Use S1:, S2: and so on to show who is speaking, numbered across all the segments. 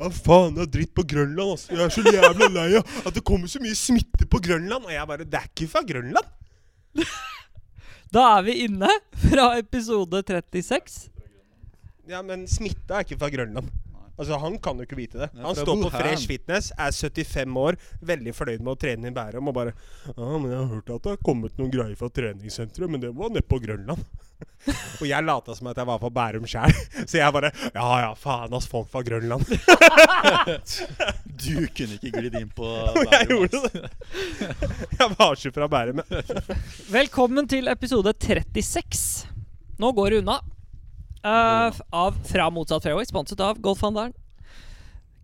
S1: Hva faen, det er dritt på Grønland, ass. Jeg er så jævla lei av at det kommer så mye smitte på Grønland. Og jeg bare Det er ikke fra Grønland.
S2: Da er vi inne fra episode 36.
S1: Ja, men smitta er ikke fra Grønland. Altså, Han kan jo ikke vite det.
S3: Det er
S1: Han
S3: fra
S1: står på
S3: Wuhan.
S1: Fresh Fitness, er 75 år, veldig fornøyd med å trene i Bærum og bare Ja, men jeg har hørt at det har kommet noen greier fra treningssenteret, men det var nede på Grønland. og jeg lata som at jeg var på Bærum sjæl, så jeg bare Ja ja, faen ass, folk fra Grønland.
S3: Du kunne ikke glidd inn på
S1: jeg
S3: Bærum,
S1: gjorde
S3: ass.
S1: Jeg var ikke fra Bærum. jeg.
S2: Velkommen til episode 36. Nå går det unna. Eh, f- av Fra motsatt fairway, sponset av Golfhandelen,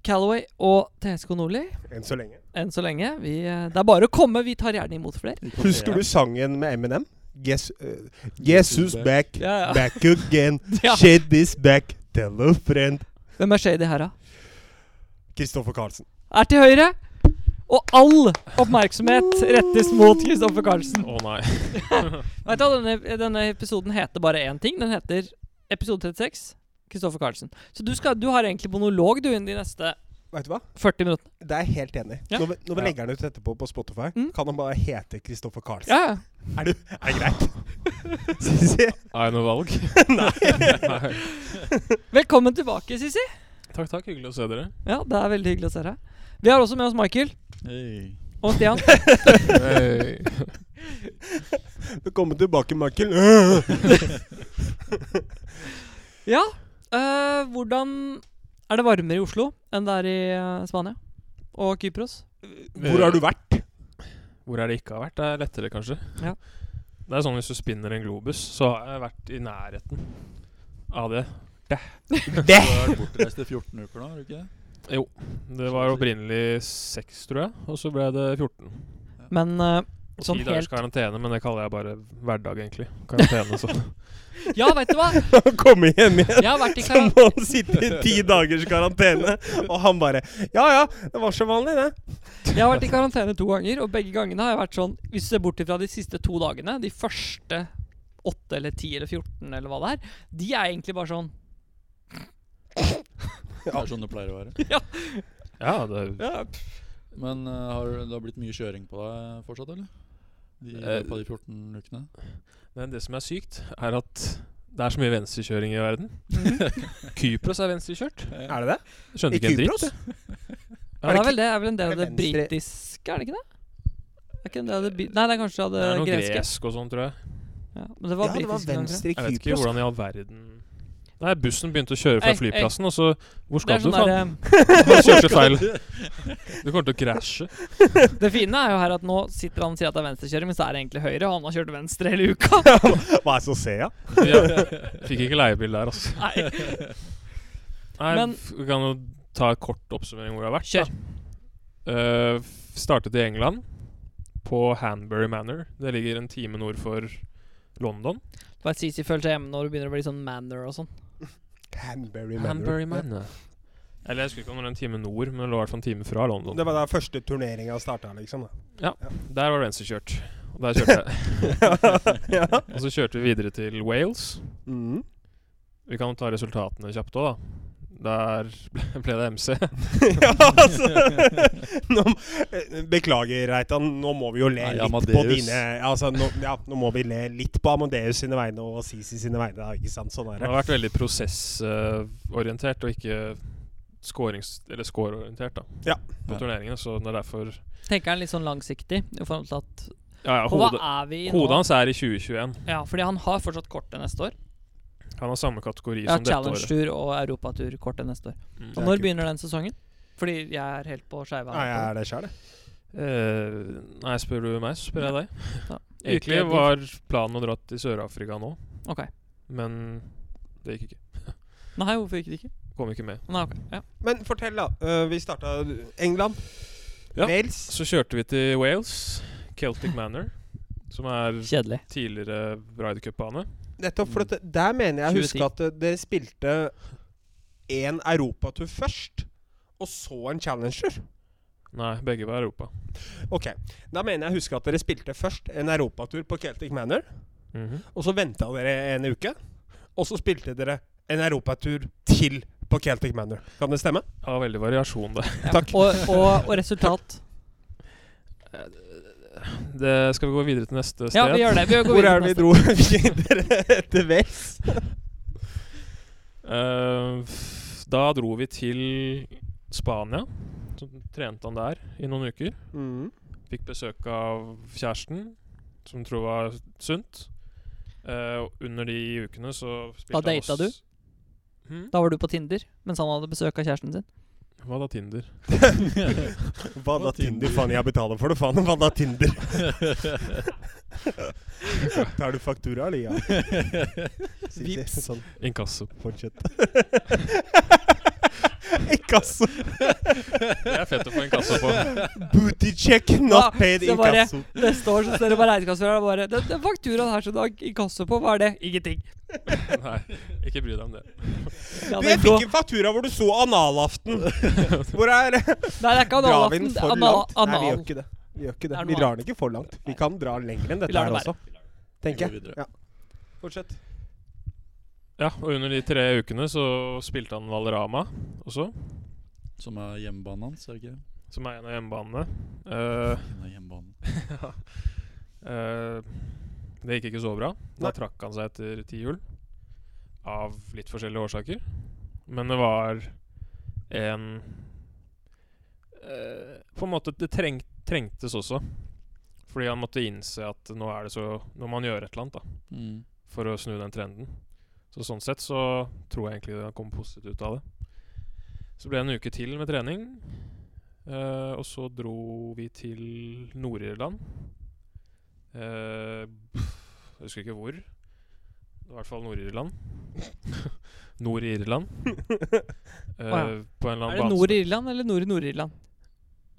S2: Callaway og TSK Nordli.
S1: Enn så lenge.
S2: Enn så lenge. Vi, eh, det er bare å komme. Vi tar gjerne imot flere.
S3: Ikke på
S1: Husker
S3: Bærum.
S1: du sangen med Eminem? Guess, uh, Jesus back,
S2: Ja, ja.
S1: back again,
S2: Ja.
S1: shed this back, tell a friend.
S2: Hvem er shady her, da?
S1: Kristoffer Karlsen.
S2: Er til høyre. Og all oppmerksomhet rettes mot Kristoffer Karlsen.
S4: Å nei.
S2: Vet du hva, denne, denne episoden heter bare én ting. Den heter episode 36. Kristoffer Karlsen. Så du, skal, du har egentlig monolog du inn de neste
S1: Vet du hva?
S2: 40 minuttene.
S1: Det er jeg helt enig i.
S2: Ja.
S1: Når, vi- når vi
S4: Ja.
S1: legger den ut etterpå på Spotify,
S2: Mm.
S1: kan han bare hete Kristoffer Karlsen.
S2: Ja, ja.
S1: Er, du, er det greit? Synes jeg.
S4: Har jeg noe valg? nei.
S2: Velkommen tilbake, Sissi.
S4: Takk, takk. Hyggelig å se dere.
S2: Ja, det er veldig hyggelig å se deg. Vi har også med oss Michael
S3: Hey.
S2: og Stian.
S1: Velkommen tilbake, Michael. Øh.
S2: Ja, eh, hvordan Er det varmere i Oslo enn det er i eh, Spania og Kypros?
S1: Hvor har du vært?
S4: Hvor er det ikke har vært? Det er lettere, kanskje.
S2: Ja.
S4: Det er sånn hvis du spinner en globus, så har jeg vært i nærheten av det.
S3: Du har vært bortreist i 14 uker nå, har du ikke det?
S4: Det var opprinnelig seks, tror jeg, og så ble det 14.
S2: Men eh,
S4: Og
S2: Sånn
S4: ti dagers
S2: helt-
S4: karantene, men det kaller jeg bare hverdag, egentlig. Karantene, så.
S2: Ja, veit du hva?
S1: Kom hjem igjen.
S2: Jeg har vært i
S1: Så
S2: karan-
S1: må han sitte i ti dagers karantene. Og han bare Ja ja, det var så vanlig, det.
S2: jeg har vært i karantene to ganger, og begge gangene har jeg vært sånn Hvis du ser bort ifra de siste to dagene, de første åtte eller ti eller 14 eller hva det er, de er egentlig bare sånn
S3: Det er sånn det pleier å være.
S4: Ja, det
S2: ja,
S3: Men eh, har du- det har blitt mye kjøring på deg fortsatt, eller? De, i
S4: Eh,
S3: løpet av de 14 ukene?
S4: Men det som er sykt, er at det er så mye venstrekjøring i verden.
S2: Mhm.
S4: Kypros er venstrekjørt.
S1: Er det det?
S4: Skjønner
S1: I
S4: ikke en dritt.
S1: Kypros?
S2: Ja, det er vel det. er vel en del av
S1: Er
S2: det
S1: det venstre-
S2: britiske, er det ikke det? Er ikke en del av det bi- Nei, det er kanskje av
S4: Det
S2: det,
S4: er noe
S2: greske.
S4: gresk og sånn, tror jeg.
S2: Ja, men
S1: Ja,
S2: det var
S1: det var
S2: britiske ganger.
S1: venstre i
S4: Jeg vet ikke
S1: Kypros.
S4: hvordan i all verden Nei, bussen begynte å kjøre fra
S2: Ei, ei.
S4: flyplassen, og så
S2: Det
S4: Hvor skal
S2: er
S4: du,
S2: sånn
S4: faen?
S2: der,
S4: Du har kjørt feil. Du kommer til å krasje.
S2: eh, det fine er jo her at nå sitter han og sier at det er venstrekjøring, men så er det egentlig høyre, og han har kjørt venstre hele uka.
S1: Hva er så ser jeg?
S4: Ja. Fikk ikke leiebil der, altså.
S2: Nei.
S4: Nei,
S2: Men-
S4: f- vi kan jo ta en kort oppsummering hvor jeg har vært.
S2: Kjør.
S4: da. Eh, f- startet i England, på Hanbury Manor. Det ligger en time nord for London.
S2: Bare Sisi føler seg hjemme når du begynner å bli sånn manner og sånn.
S1: Hanbury
S4: Hanbury
S1: Manor.
S4: Manor. Eller jeg husker ikke om det var en time nord, men det lå i hvert fall en time fra London.
S1: Det var da første turneringa starta, liksom. da.
S4: Der var det venstrekjørt. Og der kjørte jeg.
S1: ja.
S4: Og så kjørte vi videre til Wales.
S1: Mm.
S4: Vi kan ta resultatene kjapt òg, da. Der ble- ble det MC.
S1: ja, altså nå, eh, Beklager, Reitan. Nå må vi jo le
S3: Nei,
S1: litt på
S3: Amadeus.
S1: dine altså, nå, ja, nå må vi le litt på Amadeus sine vegne og Sisi sine vegne. da, Ikke sant? Sånn er
S4: Det
S1: det.
S4: har vært veldig prosessorientert og ikke scorings- eller scoreorientert da,
S1: Ja.
S4: på
S3: Ja.
S4: turneringene. Så det er derfor
S2: Tenker han litt sånn langsiktig i forhold til at
S4: ja, ja,
S2: Og hva
S4: hodet,
S2: er vi i nå?
S4: hodet hans er i 2021.
S2: Ja, fordi han har fortsatt kortet neste år.
S4: Han har samme kategori
S2: Ja,
S4: som dette året.
S2: Challenge-tur og Europatur-kortet neste år.
S4: Mm.
S1: Det
S2: Og
S1: er
S2: når
S1: kult.
S2: begynner den sesongen? Fordi jeg er helt på skeiva.
S1: Nei, jeg er det sjæl, jeg.
S4: Eh, nei, spør du meg, så spør jeg deg.
S2: Ja.
S4: Egentlig var planen å dra til Sør-Afrika nå,
S2: Ok.
S4: men det gikk ikke.
S2: Nei, hvorfor gikk det ikke?
S4: Kom ikke med.
S2: Nei, ok. Ja.
S1: Men fortell, da. Eh, vi starta England.
S4: Ja.
S1: Wales.
S4: Så kjørte vi til Wales, Celtic Manor, som er
S2: Kjedelig.
S4: tidligere Rydercup-bane.
S1: Nettopp. For at, der mener jeg å huske
S2: 2010.
S1: at eh, dere spilte én europatur først, og så en challenger.
S4: Nei, begge var Europa.
S1: Ok, Da mener jeg å huske at dere spilte først en europatur på Celtic Manor.
S4: Mhm.
S1: Og så venta dere en uke. Og så spilte dere en europatur til på Celtic Manor. Kan det stemme?
S4: Ja, veldig variasjon, det.
S1: Takk.
S2: Og, og, og resultat.
S4: Eh, det. Skal vi gå videre til neste sted?
S2: Ja, vi gjør det. Vi går
S1: Hvor
S2: videre
S1: er det vi
S2: til
S1: dro videre etter Wales?
S4: Eh, f- da dro vi til Spania. Så trente han der i noen uker.
S1: Mm.
S4: Fikk besøk av kjæresten, som tror var sunt. Eh, og under de ukene så
S2: Da
S4: spilte han
S2: data
S4: oss-
S2: du?
S4: Hm?
S2: Da var du på Tinder mens han hadde besøk av kjæresten sin.
S4: Hva da, Tinder?
S1: Hva da Tinder? Faen, jeg betaler for det, faen. Hva da Tinder? Tar du faktura, eller? Ja. Vips. Sånn,
S4: Inkasso.
S1: fortsett. Inkasso.
S4: Det er fett å få inkasso på.
S1: Booty check,
S2: Ja,
S1: not paid
S2: så bare-
S1: inkasso.
S2: Neste år så ser du bare regnskapsfører og bare Den, den fakturaen her som du har inkasso på, hva er det? Ingenting.
S4: Nei, ikke bry deg om det.
S2: Ja,
S1: Du,
S2: den
S1: jeg
S2: blå-
S1: fikk en faktura hvor du så analaften. Hvor er
S2: Nei, det er ikke
S1: Drar vi
S2: analaften.
S1: den
S2: det
S1: for
S2: er Anal,
S1: langt? Nei, vi
S2: anal.
S1: gjør ikke det. Vi, gjør ikke det.
S2: Det
S1: vi
S2: er noe
S1: drar den ikke for langt. Vi kan dra lenger enn
S2: Vi
S1: dette
S2: lar
S1: her
S2: det
S1: også, tenker
S3: Vi
S1: jeg.
S3: går videre.
S1: Ja. Fortsett.
S4: Ja, og under de tre ukene så spilte han Valrama også,
S3: Som er hjemmebanen hans, er det ikke?
S4: som er en av hjemmebanene. Eh,
S3: Den er hjemmebanen.
S4: Eh, det gikk ikke så bra. Da
S1: Nei.
S4: trakk han seg etter ti hjul. Av litt forskjellige årsaker. Men det var en eh, På en måte Det treng, trengtes også. Fordi han måtte innse at nå er det så Nå må han gjøre et eller annet da
S3: Mm.
S4: for å snu den trenden. Så sånn sett så tror jeg egentlig det kom positivt ut av det. Så ble det en uke til med trening. eh, og så dro vi til Nord-Irland. Eh, jeg husker ikke hvor. Det var i hvert fall Nord-Irland. Nord-Irland. Eh,
S2: Å
S4: På en eller annen
S2: Er det
S4: som-
S2: nord i Irland eller nord i Nord-Irland?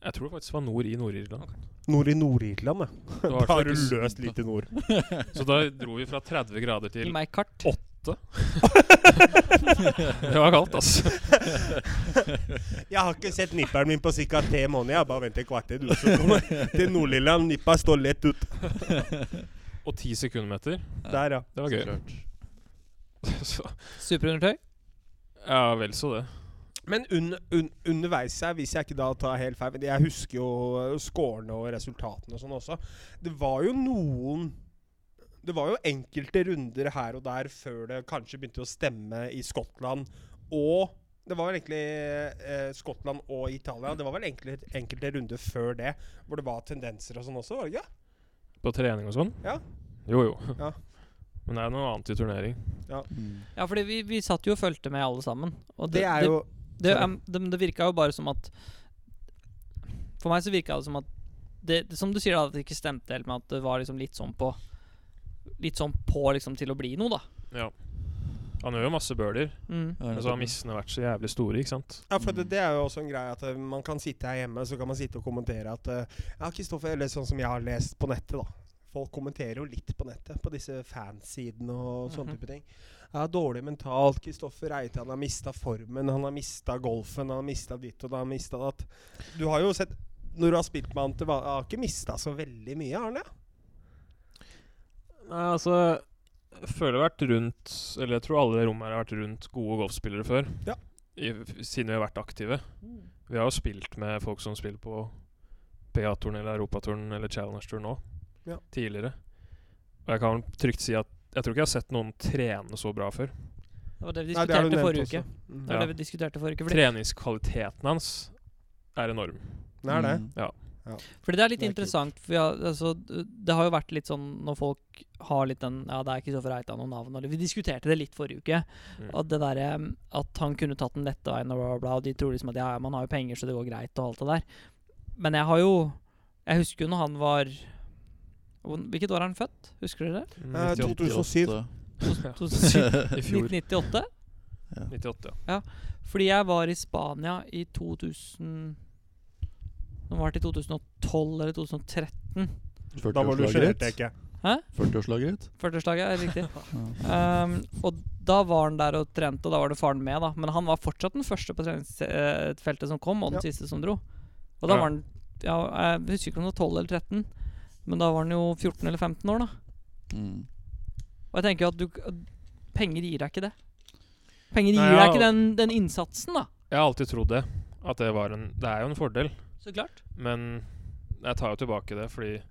S4: Jeg tror faktisk det var nord i Nord-Irland.
S1: Nord i Nord-Irland, ja.
S4: Det var i
S1: Da
S4: hvert fall
S1: har du
S4: ikke s-
S1: løst litt i nord.
S4: Så da dro vi fra 30 grader
S2: Gi
S4: til
S2: meg kart.
S4: Det var kaldt, altså.
S1: Jeg har ikke sett nipperen min på ca. tre måneder. Jeg har bare venter et kvarter. Du, så kommer til Nord-Lilland. Nippa står lett ut.
S4: Og 10 sekundmeter.
S1: Der, ja.
S4: Det var
S3: Så
S4: gøy.
S3: klart.
S4: Så,
S2: Superundertøy.
S4: ja, vel så det.
S1: Men un, un, underveis her, hvis jeg ikke da tar helt feil men Jeg husker jo eh, scorene og resultatene og sånn også. Det var jo noen Det var jo enkelte runder her og der før det kanskje begynte å stemme i Skottland og det var vel egentlig eh, Skottland og Italia. Det var vel enkle, enkelte runder før det hvor det var tendenser og sånn også, var det ikke?
S4: På trening og sånn?
S1: Ja.
S4: Jo, jo.
S1: Ja.
S4: Men det er noe annet i turnering.
S3: Mm.
S2: Ja, fordi vi, vi satt jo og fulgte med alle sammen. Og
S1: Det er jo
S2: det,
S1: sorry.
S2: em, det, det virka jo bare som at For meg så virka det som at det, det, Som du sier, da, at det ikke stemte helt med at det var liksom litt sånn på Litt sånn på liksom til å bli noe, da.
S4: Ja. Han gjør jo masse birdier,
S2: Mm.
S3: Ja,
S4: men så har missene vært så jævlig store, ikke sant?
S1: Ja, for det, det er jo også en greie at eh, man kan sitte her hjemme så kan man sitte og kommentere at eh, Ja, Kristoffer, eller sånn som jeg har lest på nettet, da. Folk kommenterer jo litt på nettet, på disse fansidene og sånne
S2: Mhm.
S1: type ting. Ja, dårlig mentalt. Kristoffer Eitan har mista formen, han har mista golfen, han har mista ditt og han har mista datt. Du har jo sett Når du har spilt med han til vanlig, har ikke mista så veldig mye, Arne?
S4: Nei, altså Jeg føler jeg har vært rundt Eller jeg tror alle i det rommet her har vært rundt gode golfspillere før.
S1: Ja.
S4: I, siden vi har vært aktive. Vi har jo spilt med folk som spiller på PA-turen eller Europaturen eller Challenge-turen nå.
S1: Ja.
S4: Tidligere. Og jeg kan trygt si at jeg tror ikke jeg har sett noen trene så bra før.
S2: Det var det vi
S1: Nei, det har du
S2: diskuterte
S1: nevnt
S2: forrige
S1: også.
S2: uke.
S1: Mm.
S2: Det var
S4: Ja.
S2: det vi diskuterte forrige uke. Fordi,
S4: Treningskvaliteten hans er enorm.
S1: Nei, det.
S3: Mm.
S2: fordi det er litt
S1: Det er kult.
S2: interessant. For vi har, altså, det har jo vært litt sånn når folk har litt den Ja, det er Kristoffer Eitan og navn og det- Vi diskuterte det litt forrige uke.
S4: Mm.
S2: At det derre um, At han kunne tatt den lette veien og bla, bla, bla. Og de tror liksom at ja, ja, man har jo penger, så det går greit, og alt det der. Men jeg har jo Jeg husker jo når han var hvor- Hvilket år er han født? Husker dere det?
S1: Eh, 2007.
S2: 1998?
S4: I fjor.
S2: 1998?
S4: 98, ja.
S2: Fordi jeg var i Spania i 2000 Nå var det i 2012 eller 2013.
S3: 40
S1: Da var du sjenert,
S3: årslaget ditt.
S1: tenker jeg.
S3: 40-årslaget ditt.
S2: 40-årslaget, er det riktig? Um, og da var han der og trente, og da var det faren med, da. Men han var fortsatt den første på treningsfeltet som kom, og den
S1: Ja.
S2: siste som dro. Og da
S4: Ja.
S2: var han ja, Jeg husker ikke om det var 12 eller 13, men da var han jo 14 eller 15 år, da.
S3: Mm.
S2: Og jeg tenker jo at du Penger gir deg ikke det. Penger gir
S4: Nei, ja.
S2: deg ikke den, den innsatsen, da.
S4: Jeg har alltid trodd det. At det var en Det er jo en fordel,
S2: Så klart.
S4: men jeg tar jo tilbake det fordi Jeg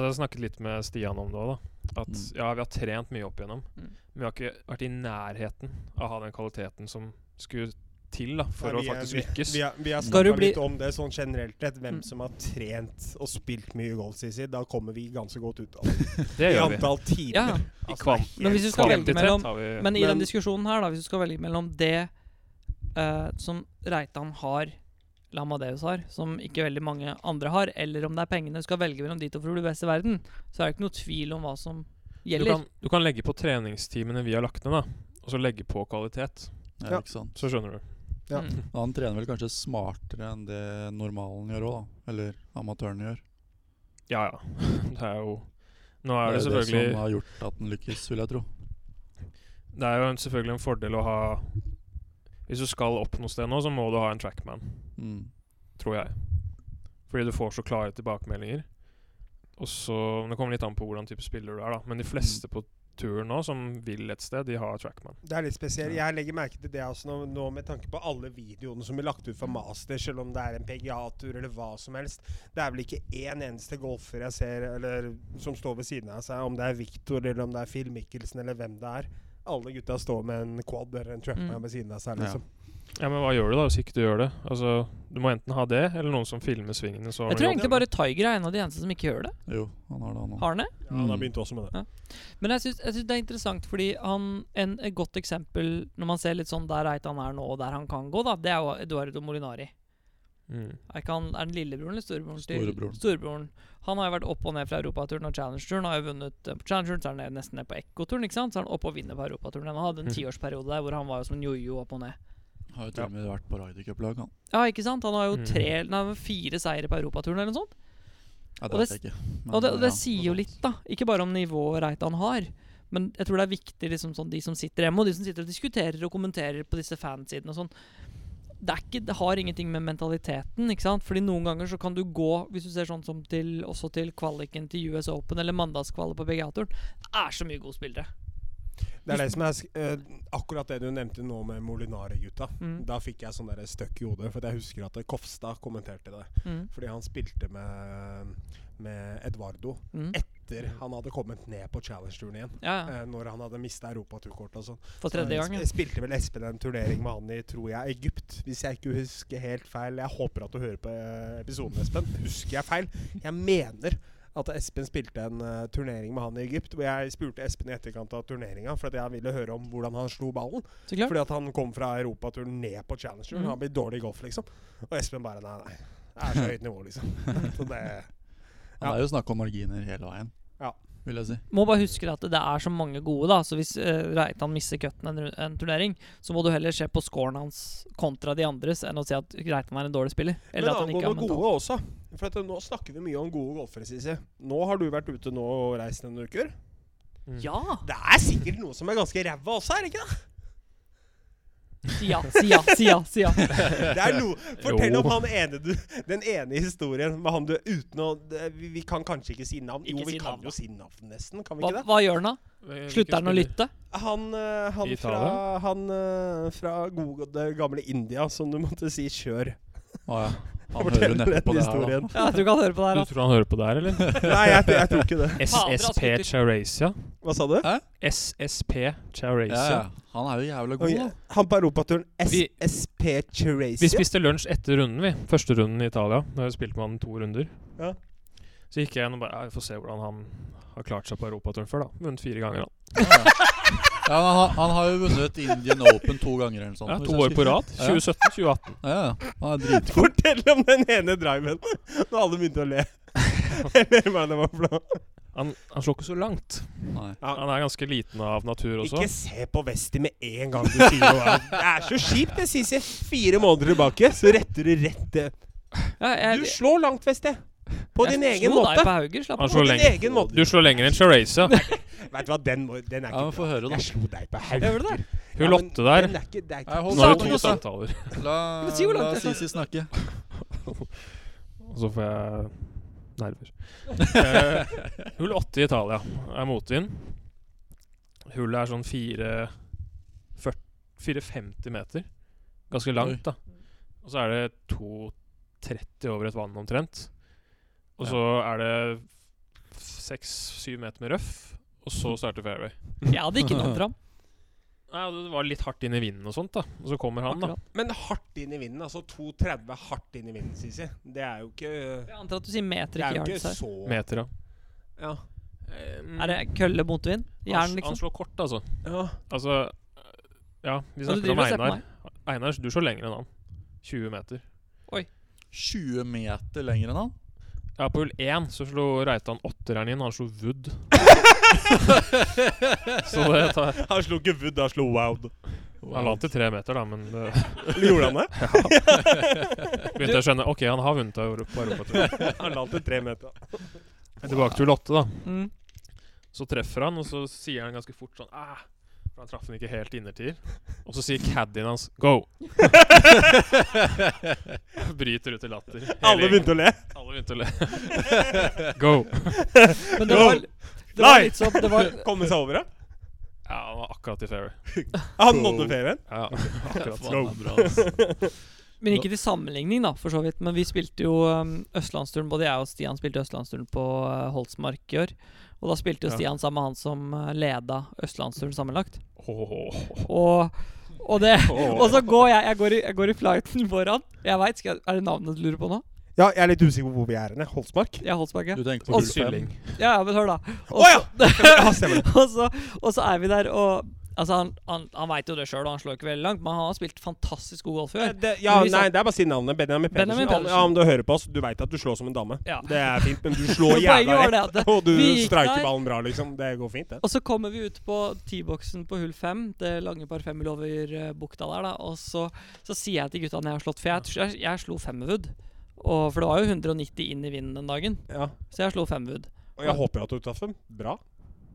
S4: har snakket litt med Stian om det òg, da. At
S3: Mm.
S4: ja, vi har trent mye opp igjennom,
S2: Mm.
S4: men vi har ikke vært i nærheten av å ha den kvaliteten som skulle til da, for
S1: Nei,
S4: å
S1: vi er-
S4: faktisk
S1: vi-
S4: lykkes.
S1: Vi har, vi har
S2: Skal du
S1: snakka
S2: bli-
S1: litt om det sånn generelt sett, hvem
S2: Mm.
S1: som har trent og spilt mye golf, Sisi. Da kommer vi ganske godt ut av det.
S4: det
S1: I
S4: gjør vi.
S1: antall timer.
S2: Ja, ja.
S4: I
S1: Altså,
S4: kvam-
S1: det er
S2: Men
S1: helt
S2: hvis du skal velge
S1: kvantitet.
S2: mellom-
S4: Kvantitet har vi
S2: Men i
S1: Men-
S2: den diskusjonen her, da, hvis du skal velge mellom det eh, som Reitan har, Lamadeus har, som ikke veldig mange andre har, eller om det er pengene du skal velge mellom de to for å bli best i verden, så er det ikke noe tvil om hva som
S4: du,
S2: gjelder.
S4: kan, du kan legge på treningstimene vi har lagt ned, da. Og så legge på kvalitet.
S1: Ja.
S3: Ja, ikke sant.
S4: Så skjønner du.
S1: ja.
S2: Mm.
S3: Men Han trener vel kanskje smartere enn det normalen gjør òg, da. Eller amatørene gjør.
S4: Ja, ja. Det er jo Nå er det,
S3: jo
S4: selvfølgelig
S3: som har gjort at den lykkes, vil jeg tro.
S4: Det er jo en, selvfølgelig en fordel å ha Hvis du skal opp noe sted nå, så må du ha en trackman,
S3: Mm.
S4: tror jeg. Fordi du får så klare tilbakemeldinger. Og så men Det kommer litt an på hvordan type spiller du er, da. Men de fleste på turen nå som vil et sted, de har trackman.
S1: Det er litt spesielt.
S3: Ja.
S1: Jeg legger merke til det også nå, nå med tanke på alle videoene som blir lagt ut fra master, selv om det er en PGA-tur eller hva som helst. Det er vel ikke én eneste golfer jeg ser eller, som står ved siden av seg, om det er Victor eller om det er Phil Mickelson eller hvem det er. Alle gutta står med en quad eller en trapman
S2: Mm.
S1: ved siden av seg.
S3: Ja.
S1: Liksom.
S4: Ja, Men hva gjør du da hvis ikke du gjør det? Altså, Du må enten ha det, eller noen som filmer svingene. Så har
S2: Jeg
S4: du
S2: tror
S4: jobb.
S2: egentlig bare Tiger er en av de eneste som ikke gjør det.
S3: Jo, han har det, han òg.
S2: Har han det?
S1: Ja, han har begynt også med det.
S2: Men jeg syns, jeg syns det er interessant, fordi han, en, et godt eksempel når man ser litt sånn der Reitan er nå, og der han kan gå, da, det er jo Eduardo Molinari.
S4: Mm.
S2: Er, ikke han, er den lillebroren eller storebroren? til-
S3: Storebroren.
S2: Storebroren. Han har jo vært opp og ned fra Europaturen og Challengeturen. Har jo vunnet eh, på Challengeturen, så er han ned- nesten ned på Ekkoturen. ikke sant? Så er han oppe og vinner på Europaturen. Han hadde en
S4: Mm.
S2: tiårsperiode der hvor han var jo som en jojo opp og ned.
S3: Har jo til og med vært på Ryder Cup-lag, han.
S2: Ja, ikke sant? Han har jo
S4: Mm.
S2: tre, nei, fire seire på Europaturen eller noe sånt.
S3: Ja,
S2: Og
S3: det
S2: det
S3: vet jeg ikke. men,
S2: Og det, og det
S3: ja, sånn.
S2: sier jo litt, da. Ikke bare om nivået Reitan har. Men jeg tror det er viktig, liksom sånn, de som sitter hjemme, og de som sitter og diskuterer og kommenterer på disse fansidene og sånn. Det, er ikke, det har ingenting med mentaliteten, ikke sant. Fordi noen ganger så kan du gå, hvis du ser sånn som til, også til kvaliken til US Open eller mandagskvalet på PGA-turen, det er så mye gode spillere.
S1: Det er det som er sk- eh, akkurat det du nevnte nå med Molinari-gutta.
S2: Mm.
S1: Da fikk jeg sånn der støkk i hodet, for jeg husker at Kofstad kommenterte det.
S2: Mm.
S1: Fordi han spilte med, med Eduardo
S2: Mm.
S1: etter han hadde kommet ned på Challenge-turen igjen.
S2: Ja, ja.
S1: eh, Når han hadde mista europaturkortet og sånn.
S2: For tredje
S1: Så
S2: gang.
S1: Jeg
S2: Ja.
S1: spilte vel Espen en turnering med han i, tror jeg, Egypt. Hvis jeg ikke husker helt feil. Jeg håper at du hører på eh, episoden, Espen. Husker jeg feil? Jeg mener at Espen spilte en eh, turnering med han i Egypt. Hvor jeg spurte Espen i etterkant av turneringa, for at jeg ville høre om hvordan han slo ballen.
S2: Så klart.
S1: Fordi at han kom fra europaturen ned på Challenger.
S2: Mhm.
S1: Han blir dårlig i golf, liksom. Og Espen bare nei, nei. Det er så høyt nivå, liksom. Så det
S3: Han er jo snakk om marginer hele veien,
S1: Ja.
S3: vil jeg si.
S2: Må bare huske at det er så mange gode, da. Så hvis eh, Reitan misser cutten en, ru- en turnering, så må du heller se på scoren hans kontra de andres enn å si at Reitan er en dårlig spiller.
S1: Men
S2: Eller at han ikke har
S1: angående
S2: mental
S1: gode også. For at nå snakker vi mye om gode golfere, Sisi. Nå har du vært ute nå og reist noen uker.
S4: Mm.
S2: Ja!
S1: Det er sikkert noe som er ganske ræva også, er det ikke det?
S2: Si ja, si ja, si ja. Si ja.
S1: det er noe, fortell
S4: Jo.
S1: om han ene du, den ene historien med han du uten å det- Vi vi kan kanskje ikke si navn. Jo,
S2: Ikke si
S1: vi kan
S2: navn, da.
S1: jo si navn, nesten. Kan vi
S2: Hva,
S1: ikke det?
S2: hva gjør han da?
S4: Hvilken
S2: Slutter han å
S4: spiller?
S2: lytte?
S1: Han, eh, han
S4: I
S1: fra,
S4: Italia?
S1: han eh, fra gode, gamle India som du måtte si 'kjør'.
S3: Å ja. Han
S1: Fortell
S3: hører jo neppe
S1: den
S3: på det her, da.
S1: historien.
S2: Ja, jeg tror ikke han hører på det her.
S4: Du tror han hører på altså. der, eller?
S1: Nei, jeg, jeg tror ikke det.
S2: Fader, altså,
S4: SSP
S2: gutter.
S4: Chaurasia.
S1: Hva sa du?
S4: SSP
S3: Ja,
S4: Chaurasia.
S3: ja. Han er jo jævla god,
S1: Ok,
S3: da.
S1: Han på europaturen
S4: Vi-
S1: SSP
S4: Vi
S1: Cherasia.
S4: spiste lunsj etter runden, vi. Første runden i Italia. Da spilte man to runder.
S1: Ja.
S4: Så gikk jeg inn og bare ja, Vi får se hvordan han har klart seg på europaturen før, da. Vunnet fire ganger, da.
S3: Ja, ja. Ja, men han, han har jo vunnet Indian Open to ganger eller noe sånt.
S4: Ja,
S3: hvis
S4: to
S3: jeg
S4: år på
S3: husker
S4: rad.
S3: riktig.
S4: 2017, 2018.
S3: Ja, ja. ja. Han er dritgod.
S1: Fortell om den ene driven når alle begynte å le. Eller hva det var for noe.
S4: Han, han slår ikke så langt.
S3: Nei.
S4: Han er ganske liten av natur også.
S1: Ikke se på Westie med en gang du sier noe. Det er så kjipt, det, Sisi. Fire måneder tilbake, så retter du rett det.
S2: Ja,
S1: Du
S2: jeg,
S1: slår langt, Westie. På din
S2: jeg
S1: egen
S2: slo deg
S1: måte.
S2: på Hauger, slapp
S4: Han
S2: av.
S1: På
S4: slår
S1: din
S4: lenger.
S1: egen måte.
S4: Du slår lenger enn Chaurasia.
S1: Vet du hva, den, må, den er
S3: Ja, men
S1: ikke
S3: Få høre, da.
S1: Jeg slo deg på
S2: Gjør du
S1: haugen.
S2: det?
S4: Hun Lotte der
S1: Den er ikke, det er
S3: Nei,
S1: ikke
S3: hold
S4: Nå har
S3: sammen,
S4: vi to
S3: Lotte.
S4: samtaler,
S3: La,
S2: Men si hvor langt
S3: la
S2: det er.
S3: Sisi snakke.
S4: og så får jeg nerver. Eh, hull åtte i Italia er motvind. Hullet er sånn fire 4,50 meter. Ganske langt, da. Og så er det 2,30 over et vann omtrent. Og
S3: Ja.
S4: så er det 6-7 meter med røff, og så starter fairway.
S2: Jeg hadde ikke nådd fram.
S4: Nei, og Det var litt hardt inn i vinden og sånt, da. Og så kommer han, da.
S2: Akkurat.
S1: Men hardt inn i vinden. Altså 2,30 hardt inn i vinden, Sisi. Det er jo ikke
S2: Jeg antar at du sier meter,
S1: Det er jo
S2: ikke yards
S1: ikke
S2: her.
S1: så
S4: Meter, ja.
S1: Ja.
S2: Er det kølle motvind? Jern,
S4: Han
S2: liksom?
S4: slår kort, altså.
S1: ja.
S4: Altså Ja, vi
S2: Og du
S4: snakker om
S2: driver og ser på
S4: Einar. Einar, du slår lenger enn han. 20 meter.
S3: 20 meter lenger enn han.
S4: Ja, på hull 1 så slo Reitan åtteren inn, han slo Wood. så det tar
S1: Han slo ikke Wood, han slo Woud.
S4: Han la til tre meter, da, men det
S1: Gjorde han det?
S4: begynte jeg å skjønne OK, han har vunnet av Europa- på Europaturen.
S1: Han la til tre meter.
S4: Tilbake til hull 8, da.
S2: Mm.
S4: Så treffer han, og så sier han ganske fort sånn ah, For han traff den ikke helt innertier. Og så sier caddien hans 'go'. Bryter ut i latter. Hele
S1: Alle
S4: gjengen.
S1: begynte å le.
S4: Alle begynte å le. go.
S2: Men det var, det var
S1: Nei!
S2: litt sånn det var,
S1: Komme seg over det.
S4: Ja, han var akkurat i fairway.
S1: Han nådde ferien.
S4: Ja, akkurat.
S1: Go.
S2: Men ikke til sammenligning, da, for så vidt. Men vi spilte jo um, Østlandsturen, både jeg og Stian spilte Østlandsturen på uh, Holsmark i år. Og da spilte jo
S4: Ja.
S2: Stian sammen med han som uh, leda Østlandsturen sammenlagt.
S4: Åh.
S2: Og, og det
S4: Åh.
S2: Og så går jeg Jeg går i, jeg går i flighten foran. Jeg vet, skal jeg, Er det navnet du lurer på nå?
S1: Ja, jeg er litt usikker på hvor vi er hen. Holsmark?
S2: Jeg er Holsmark, ja.
S3: Du tenker
S2: Og
S3: på hull fem.
S4: Sylling.
S2: Ja, ja, men hør, da.
S1: Å ja! Ja, stemmer det.
S2: og, så, og så er vi der, og Altså, han, han, han veit jo det sjøl, og han slår ikke veldig langt, men han har spilt fantastisk god golf i år.
S1: det, ja,
S2: Eh, Men vi sa-
S1: nei, det er bare å si navnet. Benjamin Pedersen.
S2: Benjamin
S1: Om-
S2: Pedersen.
S1: Ja, om du hører på oss, du veit at du slår som en dame.
S2: Ja.
S1: Det er fint, men du
S2: Men
S1: slår
S2: poenget
S1: jævla
S2: var
S1: rett.
S2: det at det-
S1: Og du
S2: vi gikk
S1: streiker
S2: der-
S1: ballen bra, liksom. Det går fint, det.
S2: Og så kommer vi ut på T-boksen på hull fem, det lange par femmil over eh, bukta der, da. Og så, så sier jeg til gutta når jeg har slått, for jeg, jeg, jeg slo femmerwood. Og, for det var jo 190 inn i vinden den dagen,
S1: Ja.
S2: så jeg slo femmerwood.
S1: Og jeg håper at du traff dem. Bra.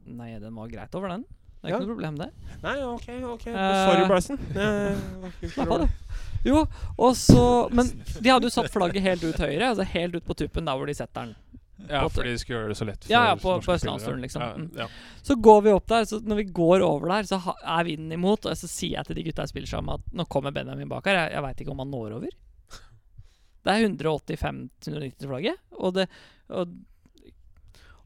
S2: Nei, den var greit over den. Det er
S1: Ja.
S2: ikke noe problem, det.
S1: Nei, OK. ok
S2: Eh,
S1: Sorry, Bryson. Eh,
S2: Slapp av, du. Jo, og så Men de hadde jo satt flagget helt ut høyre, altså helt ut på tuppen der hvor de setter den.
S4: Ja,
S2: På-
S4: fordi de skulle gjøre det så lett for
S2: Ja, ja, på-
S4: norske
S2: på
S4: spillere.
S2: Østlandsturen, liksom. Mm.
S4: Ja, ja.
S2: Så går vi opp der, så når vi går over der, så ha, er vinden imot, og så sier jeg til de gutta jeg spiller sammen at nå kommer Benjamin bak her, jeg, jeg veit ikke om han når over. Det er 185-190 flagget, og det og,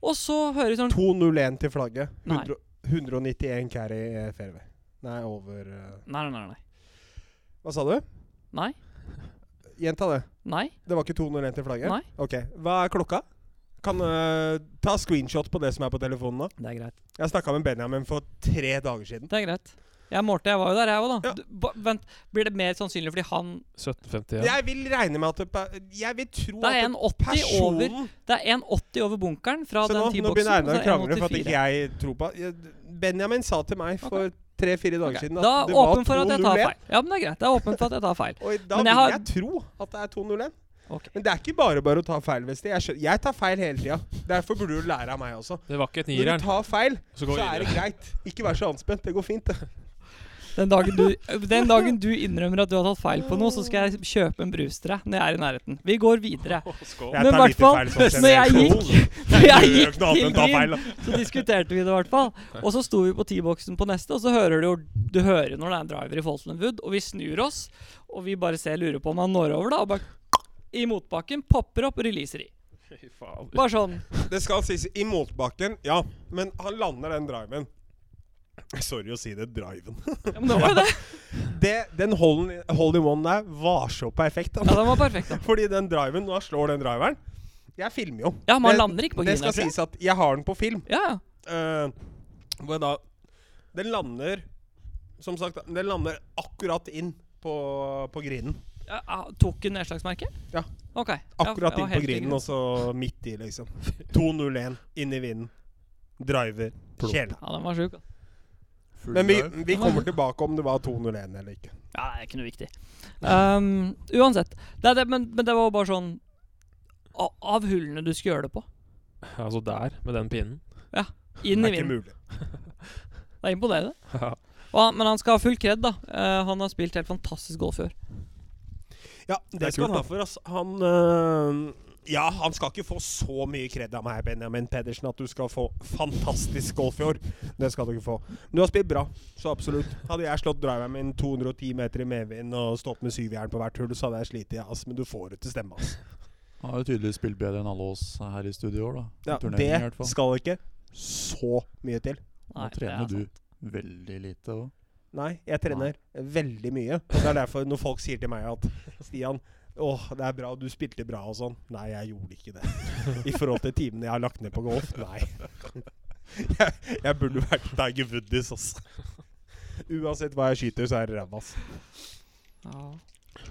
S2: og så hører vi sånn
S1: 2-0-1 til flagget.
S2: Nei.
S1: 100, 191 carry eh, fairway. Nei, over eh,
S2: Nei, nei, nei.
S1: Hva sa du?
S2: Nei.
S1: Gjenta det.
S2: nei,
S1: Det var ikke 2-0-1 til flagget?
S2: Nei.
S1: Ok. Hva er klokka? Kan eh, Ta screenshot på det som er på telefonen nå.
S2: nei. Det er greit.
S1: Jeg snakka med Benjamin for tre dager siden.
S2: Det er greit. Jeg målte, jeg var jo der, jeg òg, da.
S1: Ja.
S2: Du, ba, vent, blir det mer sannsynlig fordi han
S4: 1751.
S1: Jeg vil regne med at det, pe- Jeg vil tro
S2: Det er
S1: at
S2: 1,80 over
S1: personen
S2: Det er 1,80 over bunkeren fra
S1: Se nå,
S2: den
S1: nå begynner
S2: T-boksen.
S1: Einar å krangle for at ikke jeg tror på Jeg- Benjamin sa til meg for tre-fire dager siden at
S2: Da
S1: det var
S2: åpen for at jeg tar
S1: 2-0-1.
S2: feil. Ja, men det er greit. Det er åpen for at jeg tar feil.
S1: Og i- da
S2: Men
S1: vil jeg,
S2: jeg har-
S1: tro at det er 2-0-1.
S2: Ok.
S1: Men det er ikke bare bare å ta feil, Vesti. Jeg, skjønner- jeg tar feil hele tida. Derfor burde du lære av meg også.
S4: Det var ikke et
S1: Når
S4: nireren.
S1: du tar feil,
S4: Så
S1: så
S4: går
S1: er det
S4: videre.
S1: greit. Ikke vær så anspent. Det går fint, det.
S2: Den dagen, du, den dagen du innrømmer at du har tatt feil på noe, så skal jeg kjøpe en brus til deg når jeg er i nærheten. Vi går videre.
S4: Å, skål.
S2: Men i hvert fall,
S4: sånn
S2: når jeg gikk, når jeg gikk til min, så diskuterte vi det i hvert fall. Og så sto vi på T-boksen på neste, og så hører du jo du hører jo når det er en driver i Foltland Wood, og vi snur oss, og vi bare ser lurer på om han når over, da, og bare i motbakken, popper opp og releaser i.
S4: Fy faen.
S2: Bare sånn.
S1: Det skal sies i motbakken, ja. Men han lander den driven. Sorry å si det, driven.
S2: Ja, men det var jo det.
S1: Det, den hole-in-one der var så perfekt.
S2: Ja,
S1: Altså.
S2: den var perfekt, da.
S1: Fordi den driven, når han slår den driveren Jeg filmer jo.
S2: Ja, man
S1: Det-
S2: lander ikke på
S1: Det
S2: grinen.
S1: skal
S2: tror jeg.
S1: sies at jeg har den på film.
S2: Ja, ja.
S1: Eh, hvor jeg da Den lander Som sagt, den lander akkurat inn på, på grinen.
S2: Ja, ah, tok hun nedslagsmerket?
S1: Ja.
S2: Ok. Ja,
S1: Akkurat
S2: det var
S1: inn på
S2: helt
S1: grinen,
S2: greit.
S1: og så midt i, liksom. 2-0-1, inn i vinden. Driver.
S3: Plopp.
S1: Kjela.
S2: Ja, den var sjuk. ass.
S3: Full
S1: Men vi,
S3: drive.
S1: vi kommer tilbake om det var 2-0-1 eller ikke.
S2: Ja, det er ikke noe viktig. Um, uansett. Det er det, men, men det var jo bare sånn a- Av hullene du skulle gjøre det på.
S4: Altså der, med den pinnen.
S2: Inn
S1: Det
S2: i
S1: er ikke
S2: vinden.
S1: mulig.
S2: Det er imponerende.
S4: Ja.
S2: Og han, men han skal ha full kred, da. Eh, han har spilt helt fantastisk golf før.
S1: Ja, det,
S4: er
S1: skal
S4: kult,
S1: han ha for oss. Han altså. øh, Ja, han skal ikke få så mye kred av meg, Benjamin Pedersen, at du skal få fantastisk golf i år. Det skal du ikke få. Men du har spilt bra, så absolutt. Hadde jeg slått driveren min 210 meter i medvind og stått med syvjern på hvert hull, så hadde jeg slitt, ja, ass. Men du får det til stemme, ass.
S3: Han har jo tydeligvis spilt bedre enn alle oss her i studio i år, da. I
S1: Ja,
S3: turneringen i hvert
S1: det
S3: fall.
S1: skal ikke så mye til.
S2: Nei, det
S3: Nå
S2: er
S3: trener
S2: sant.
S3: du veldig lite òg.
S1: Nei, jeg trener veldig mye. Og det er derfor når folk sier til meg at Stian, åh, det er bra, du spilte bra og sånn. Nei, jeg gjorde ikke det. I forhold til timene jeg har lagt ned på golf. Nei. Jeg, jeg burde vært Tiger Woodies, ass. Uansett hva jeg skyter, så er det ræva, ass.
S2: altså- Ja.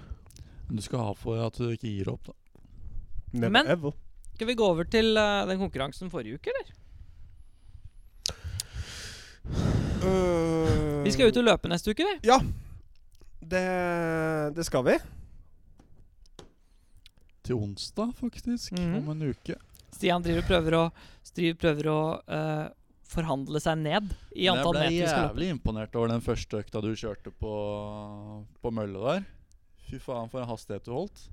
S3: Men du skal ha for at du ikke gir opp, da.
S1: Never
S2: Men-
S1: ever.
S2: Skal vi gå over til eh, den konkurransen forrige uke, eller? Vi
S3: Eh.
S2: skal ut og løpe neste uke, vi.
S1: det, Øh, det skal vi.
S3: Til onsdag, faktisk.
S2: Mhm.
S3: Om en uke.
S2: Stian driver og prøver å, driver, prøver å eh, forhandle seg ned i
S3: Men
S2: antall meter vi
S3: Jeg ble
S2: skal løpe.
S3: jævlig imponert over den første økta du kjørte på, på mølla der. Fy faen, for en hastighet du holdt.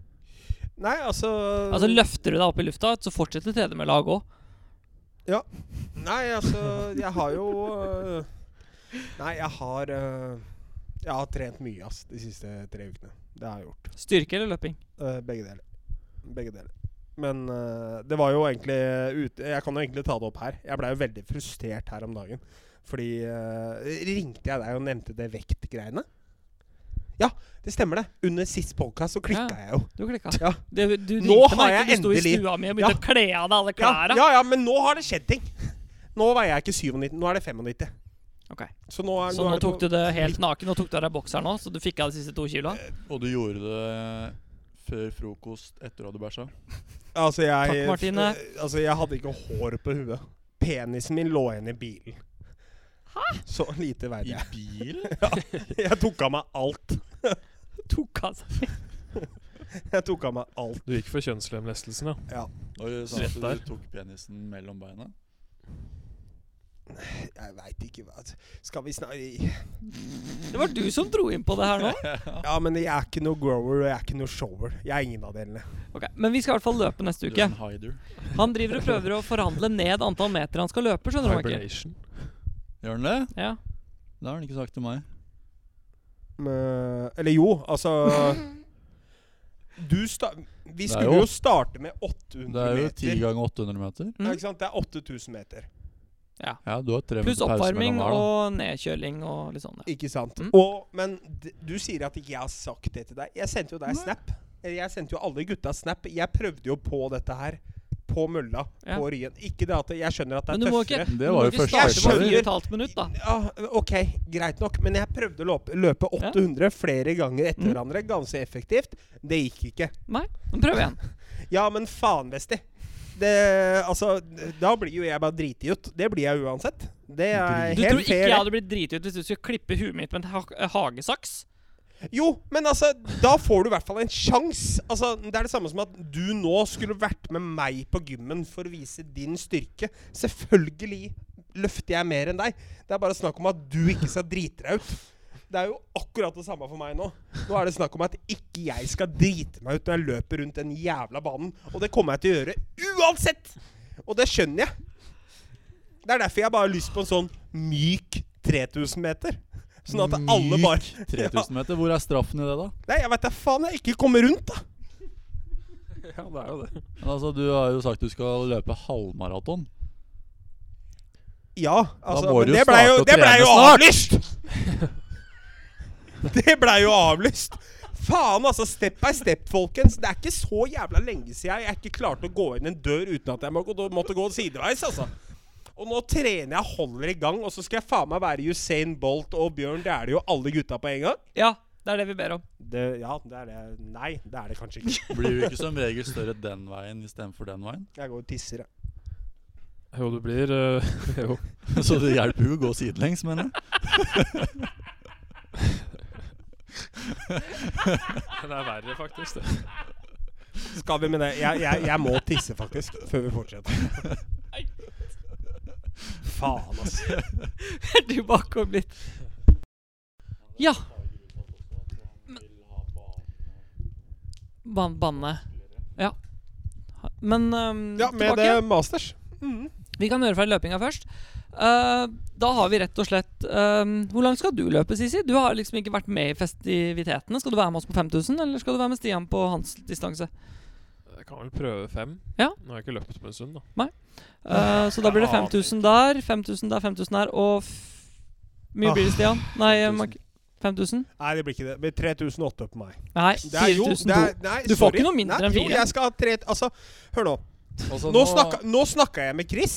S1: Nei, altså
S2: Altså Løfter du deg opp i lufta, så fortsetter tredemølla å gå.
S1: Nei, altså, jeg har jo øh, Nei, jeg har øh, Jeg har trent mye, ass, de siste tre ukene. Det har jeg gjort.
S2: Styrke eller løping?
S1: Eh, begge deler. Begge deler. Men eh, det var jo egentlig ute Jeg kan jo egentlig ta det opp her. Jeg blei jo veldig frustrert her om dagen. Fordi eh, Ringte jeg deg og nevnte det vektgreiene? Ja, det stemmer det. Under sist podcast så klikka
S2: Ja.
S1: jeg jo.
S2: Du klikka.
S1: Ja.
S2: Du, du
S1: Nå har
S2: ringte meg
S1: jeg
S2: ikke, du sto i
S1: endelig-
S2: stua mi og begynte
S1: Ja.
S2: å kle av deg alle
S1: Ja,
S2: klærne.
S1: ja, ja, men nå har det skjedd ting. Nå veier jeg ikke 97, nå er det 95.
S2: Ok.
S1: Så nå, er,
S2: Så nå
S1: er det
S2: tok
S1: på-
S2: du det helt naken og tok du av deg bokseren nå, så du fikk av de siste to kiloa?
S3: Og du gjorde det før frokost, etter at du bæsja.
S1: altså, jeg,
S2: Takk, Martine.
S1: eh, Altså, jeg hadde ikke hår på huet. Penisen min lå igjen i bilen. Hæ? Så lite
S3: I
S1: verdt jeg.
S3: bil?
S1: Jeg tok av meg alt.
S2: Tok av seg
S1: Jeg tok av meg alt.
S4: Du gikk for kjønnslemlestelsen, ja.
S3: Når du sa
S4: Rett
S3: sånn at
S4: der.
S3: du tok penisen mellom beina?
S1: Jeg veit ikke hva altså, Skal vi snakke
S2: Det var du som dro inn på det her nå.
S1: Ja, men jeg er ikke noe grower, og jeg er ikke noe shower. Jeg er ingen av delene.
S2: Ok, Men vi skal i hvert fall løpe neste
S3: Du er
S2: uke.
S3: en hider.
S2: Han driver og prøver å forhandle ned antall meter han skal løpe, skjønner du, Marker.
S4: Hibernation.
S3: Gjør han det?
S2: Ja.
S3: Det har han ikke sagt til meg.
S1: Men, eller jo, altså Du sta Vi
S3: Det er
S1: skulle
S3: jo-
S1: jo starte med
S3: Det er
S1: 800
S3: jo 10
S1: meter. Mm.
S3: ganger 800 meter.
S1: Ja, ikke sant? Det er 8000 meter.
S3: Ja, du har tre
S2: Pluss
S3: minutter pause
S2: oppvarming
S3: mellom hver. da.
S2: og nedkjøling og litt sånn. Ja.
S1: Ikke sant?
S2: Mm.
S1: Og, men d du sier at ikke jeg har sagt det til deg. Jeg sendte jo deg
S3: Nei.
S1: snap. Eller Jeg sendte jo alle gutta snap. Jeg prøvde jo på dette her. På mølla.
S2: Ja.
S1: På Ryen. Ikke det at Jeg skjønner at det er
S2: Men du må
S1: tøffere.
S2: ikke,
S3: Det
S2: du
S3: var
S2: må
S3: jo
S2: ikke
S3: første
S2: starte på
S1: økta.
S2: fire og et halvt minutt, da.
S1: Ja, ok, greit nok. Men jeg prøvde å løpe, løpe 800 flere ganger etter
S2: Mm.
S1: hverandre. Ganske effektivt. Det gikk ikke.
S2: Nei, men prøv igjen.
S1: Ja, men faen, Vesti. Det, altså, da blir jo jeg bare driti ut. Det blir jeg uansett. Det er
S2: Du tror
S1: helt
S2: ikke jeg
S1: fair.
S2: hadde blitt driti ut hvis du skulle klippe huet mitt med en ha hagesaks?
S1: Jo, men altså, da får du i hvert fall en sjanse. Altså, det er det samme som at du nå skulle vært med meg på gymmen for å vise din styrke. Selvfølgelig løfter jeg mer enn deg. Det er bare snakk om at du ikke skal drite deg ut. Det er jo akkurat det samme for meg nå. Nå er det snakk om at ikke jeg skal drite meg ut når jeg løper rundt den jævla banen. Og det kommer jeg til å gjøre uansett! Og det skjønner jeg. Det er derfor jeg bare har lyst på en sånn myk 3000 meter. Sånn at alle
S3: Myk
S1: bare
S3: 3000 meter. Hvor er straffen i det, da?
S1: Nei, jeg veit da faen. Jeg ikke kommer rundt, da.
S4: Ja, det er jo det.
S3: Men altså, Du har jo sagt du skal løpe halvmaraton.
S1: Ja, altså,
S3: må
S1: men
S3: du jo
S1: det blei
S3: starte
S1: jo,
S3: å
S1: det ble
S3: trene
S1: jo
S3: snart.
S1: avlyst! det blei jo avlyst. Faen, altså. Step by step, folkens. Det er ikke så jævla lenge siden jeg ikke klarte å gå inn en dør uten at jeg må, gå- måtte gå sideveis, altså. Og nå trener jeg, holder i gang, og så skal jeg faen meg være Usain Bolt og Bjørn Dæhlie og alle gutta på en gang?
S2: Ja, det er det vi ber om.
S1: Det, ja, det er det. Nei, det er det kanskje ikke.
S3: Blir jo ikke som regel større den veien istedenfor den veien.
S1: Jeg går og tisser, jeg.
S4: Jo, du blir eh, Jo.
S3: Så det hjelper jo å gå sidelengs, mener jeg.
S4: Det er verre, faktisk. det.
S1: Skal vi med det? Jeg, jeg, jeg må tisse, faktisk, før vi fortsetter. Faen, altså.
S2: Du bakover litt. Ja. Ban banne. Ja. Ha- Men ehm,
S1: Ja, med øh,
S2: tilbake.
S1: det masters. Mhm.
S2: Vi kan høre fra løpinga først. Eh, da har vi rett og slett ehm, Hvor langt skal du løpe, Sisi? Du har liksom ikke vært med i festivitetene. Skal du være med oss på 5000, eller skal du være med Stian på hans distanse?
S4: Jeg kan vel prøve fem.
S2: Ja.
S4: Nå har jeg ikke løpt på en stund, da.
S2: Eh, så da blir det
S4: Jeg aner
S2: 5000 der, 5000 der, 5000 der, og f
S1: Ah,
S2: mye blir det, Stian? Nei,
S3: 5000.
S2: Mark- 5000?
S1: Nei, det blir ikke det. Det blir 3800 på meg.
S2: Nei,
S1: Det er jo-
S2: 4000.
S1: det er- nei,
S2: Du får
S1: sorry.
S2: ikke noe mindre
S1: Nei,
S2: enn
S1: Jo,
S2: fire.
S1: jeg skal ha tre Altså, hør nå.
S3: Altså,
S1: Nå snakka, nå snakka jeg med Chris.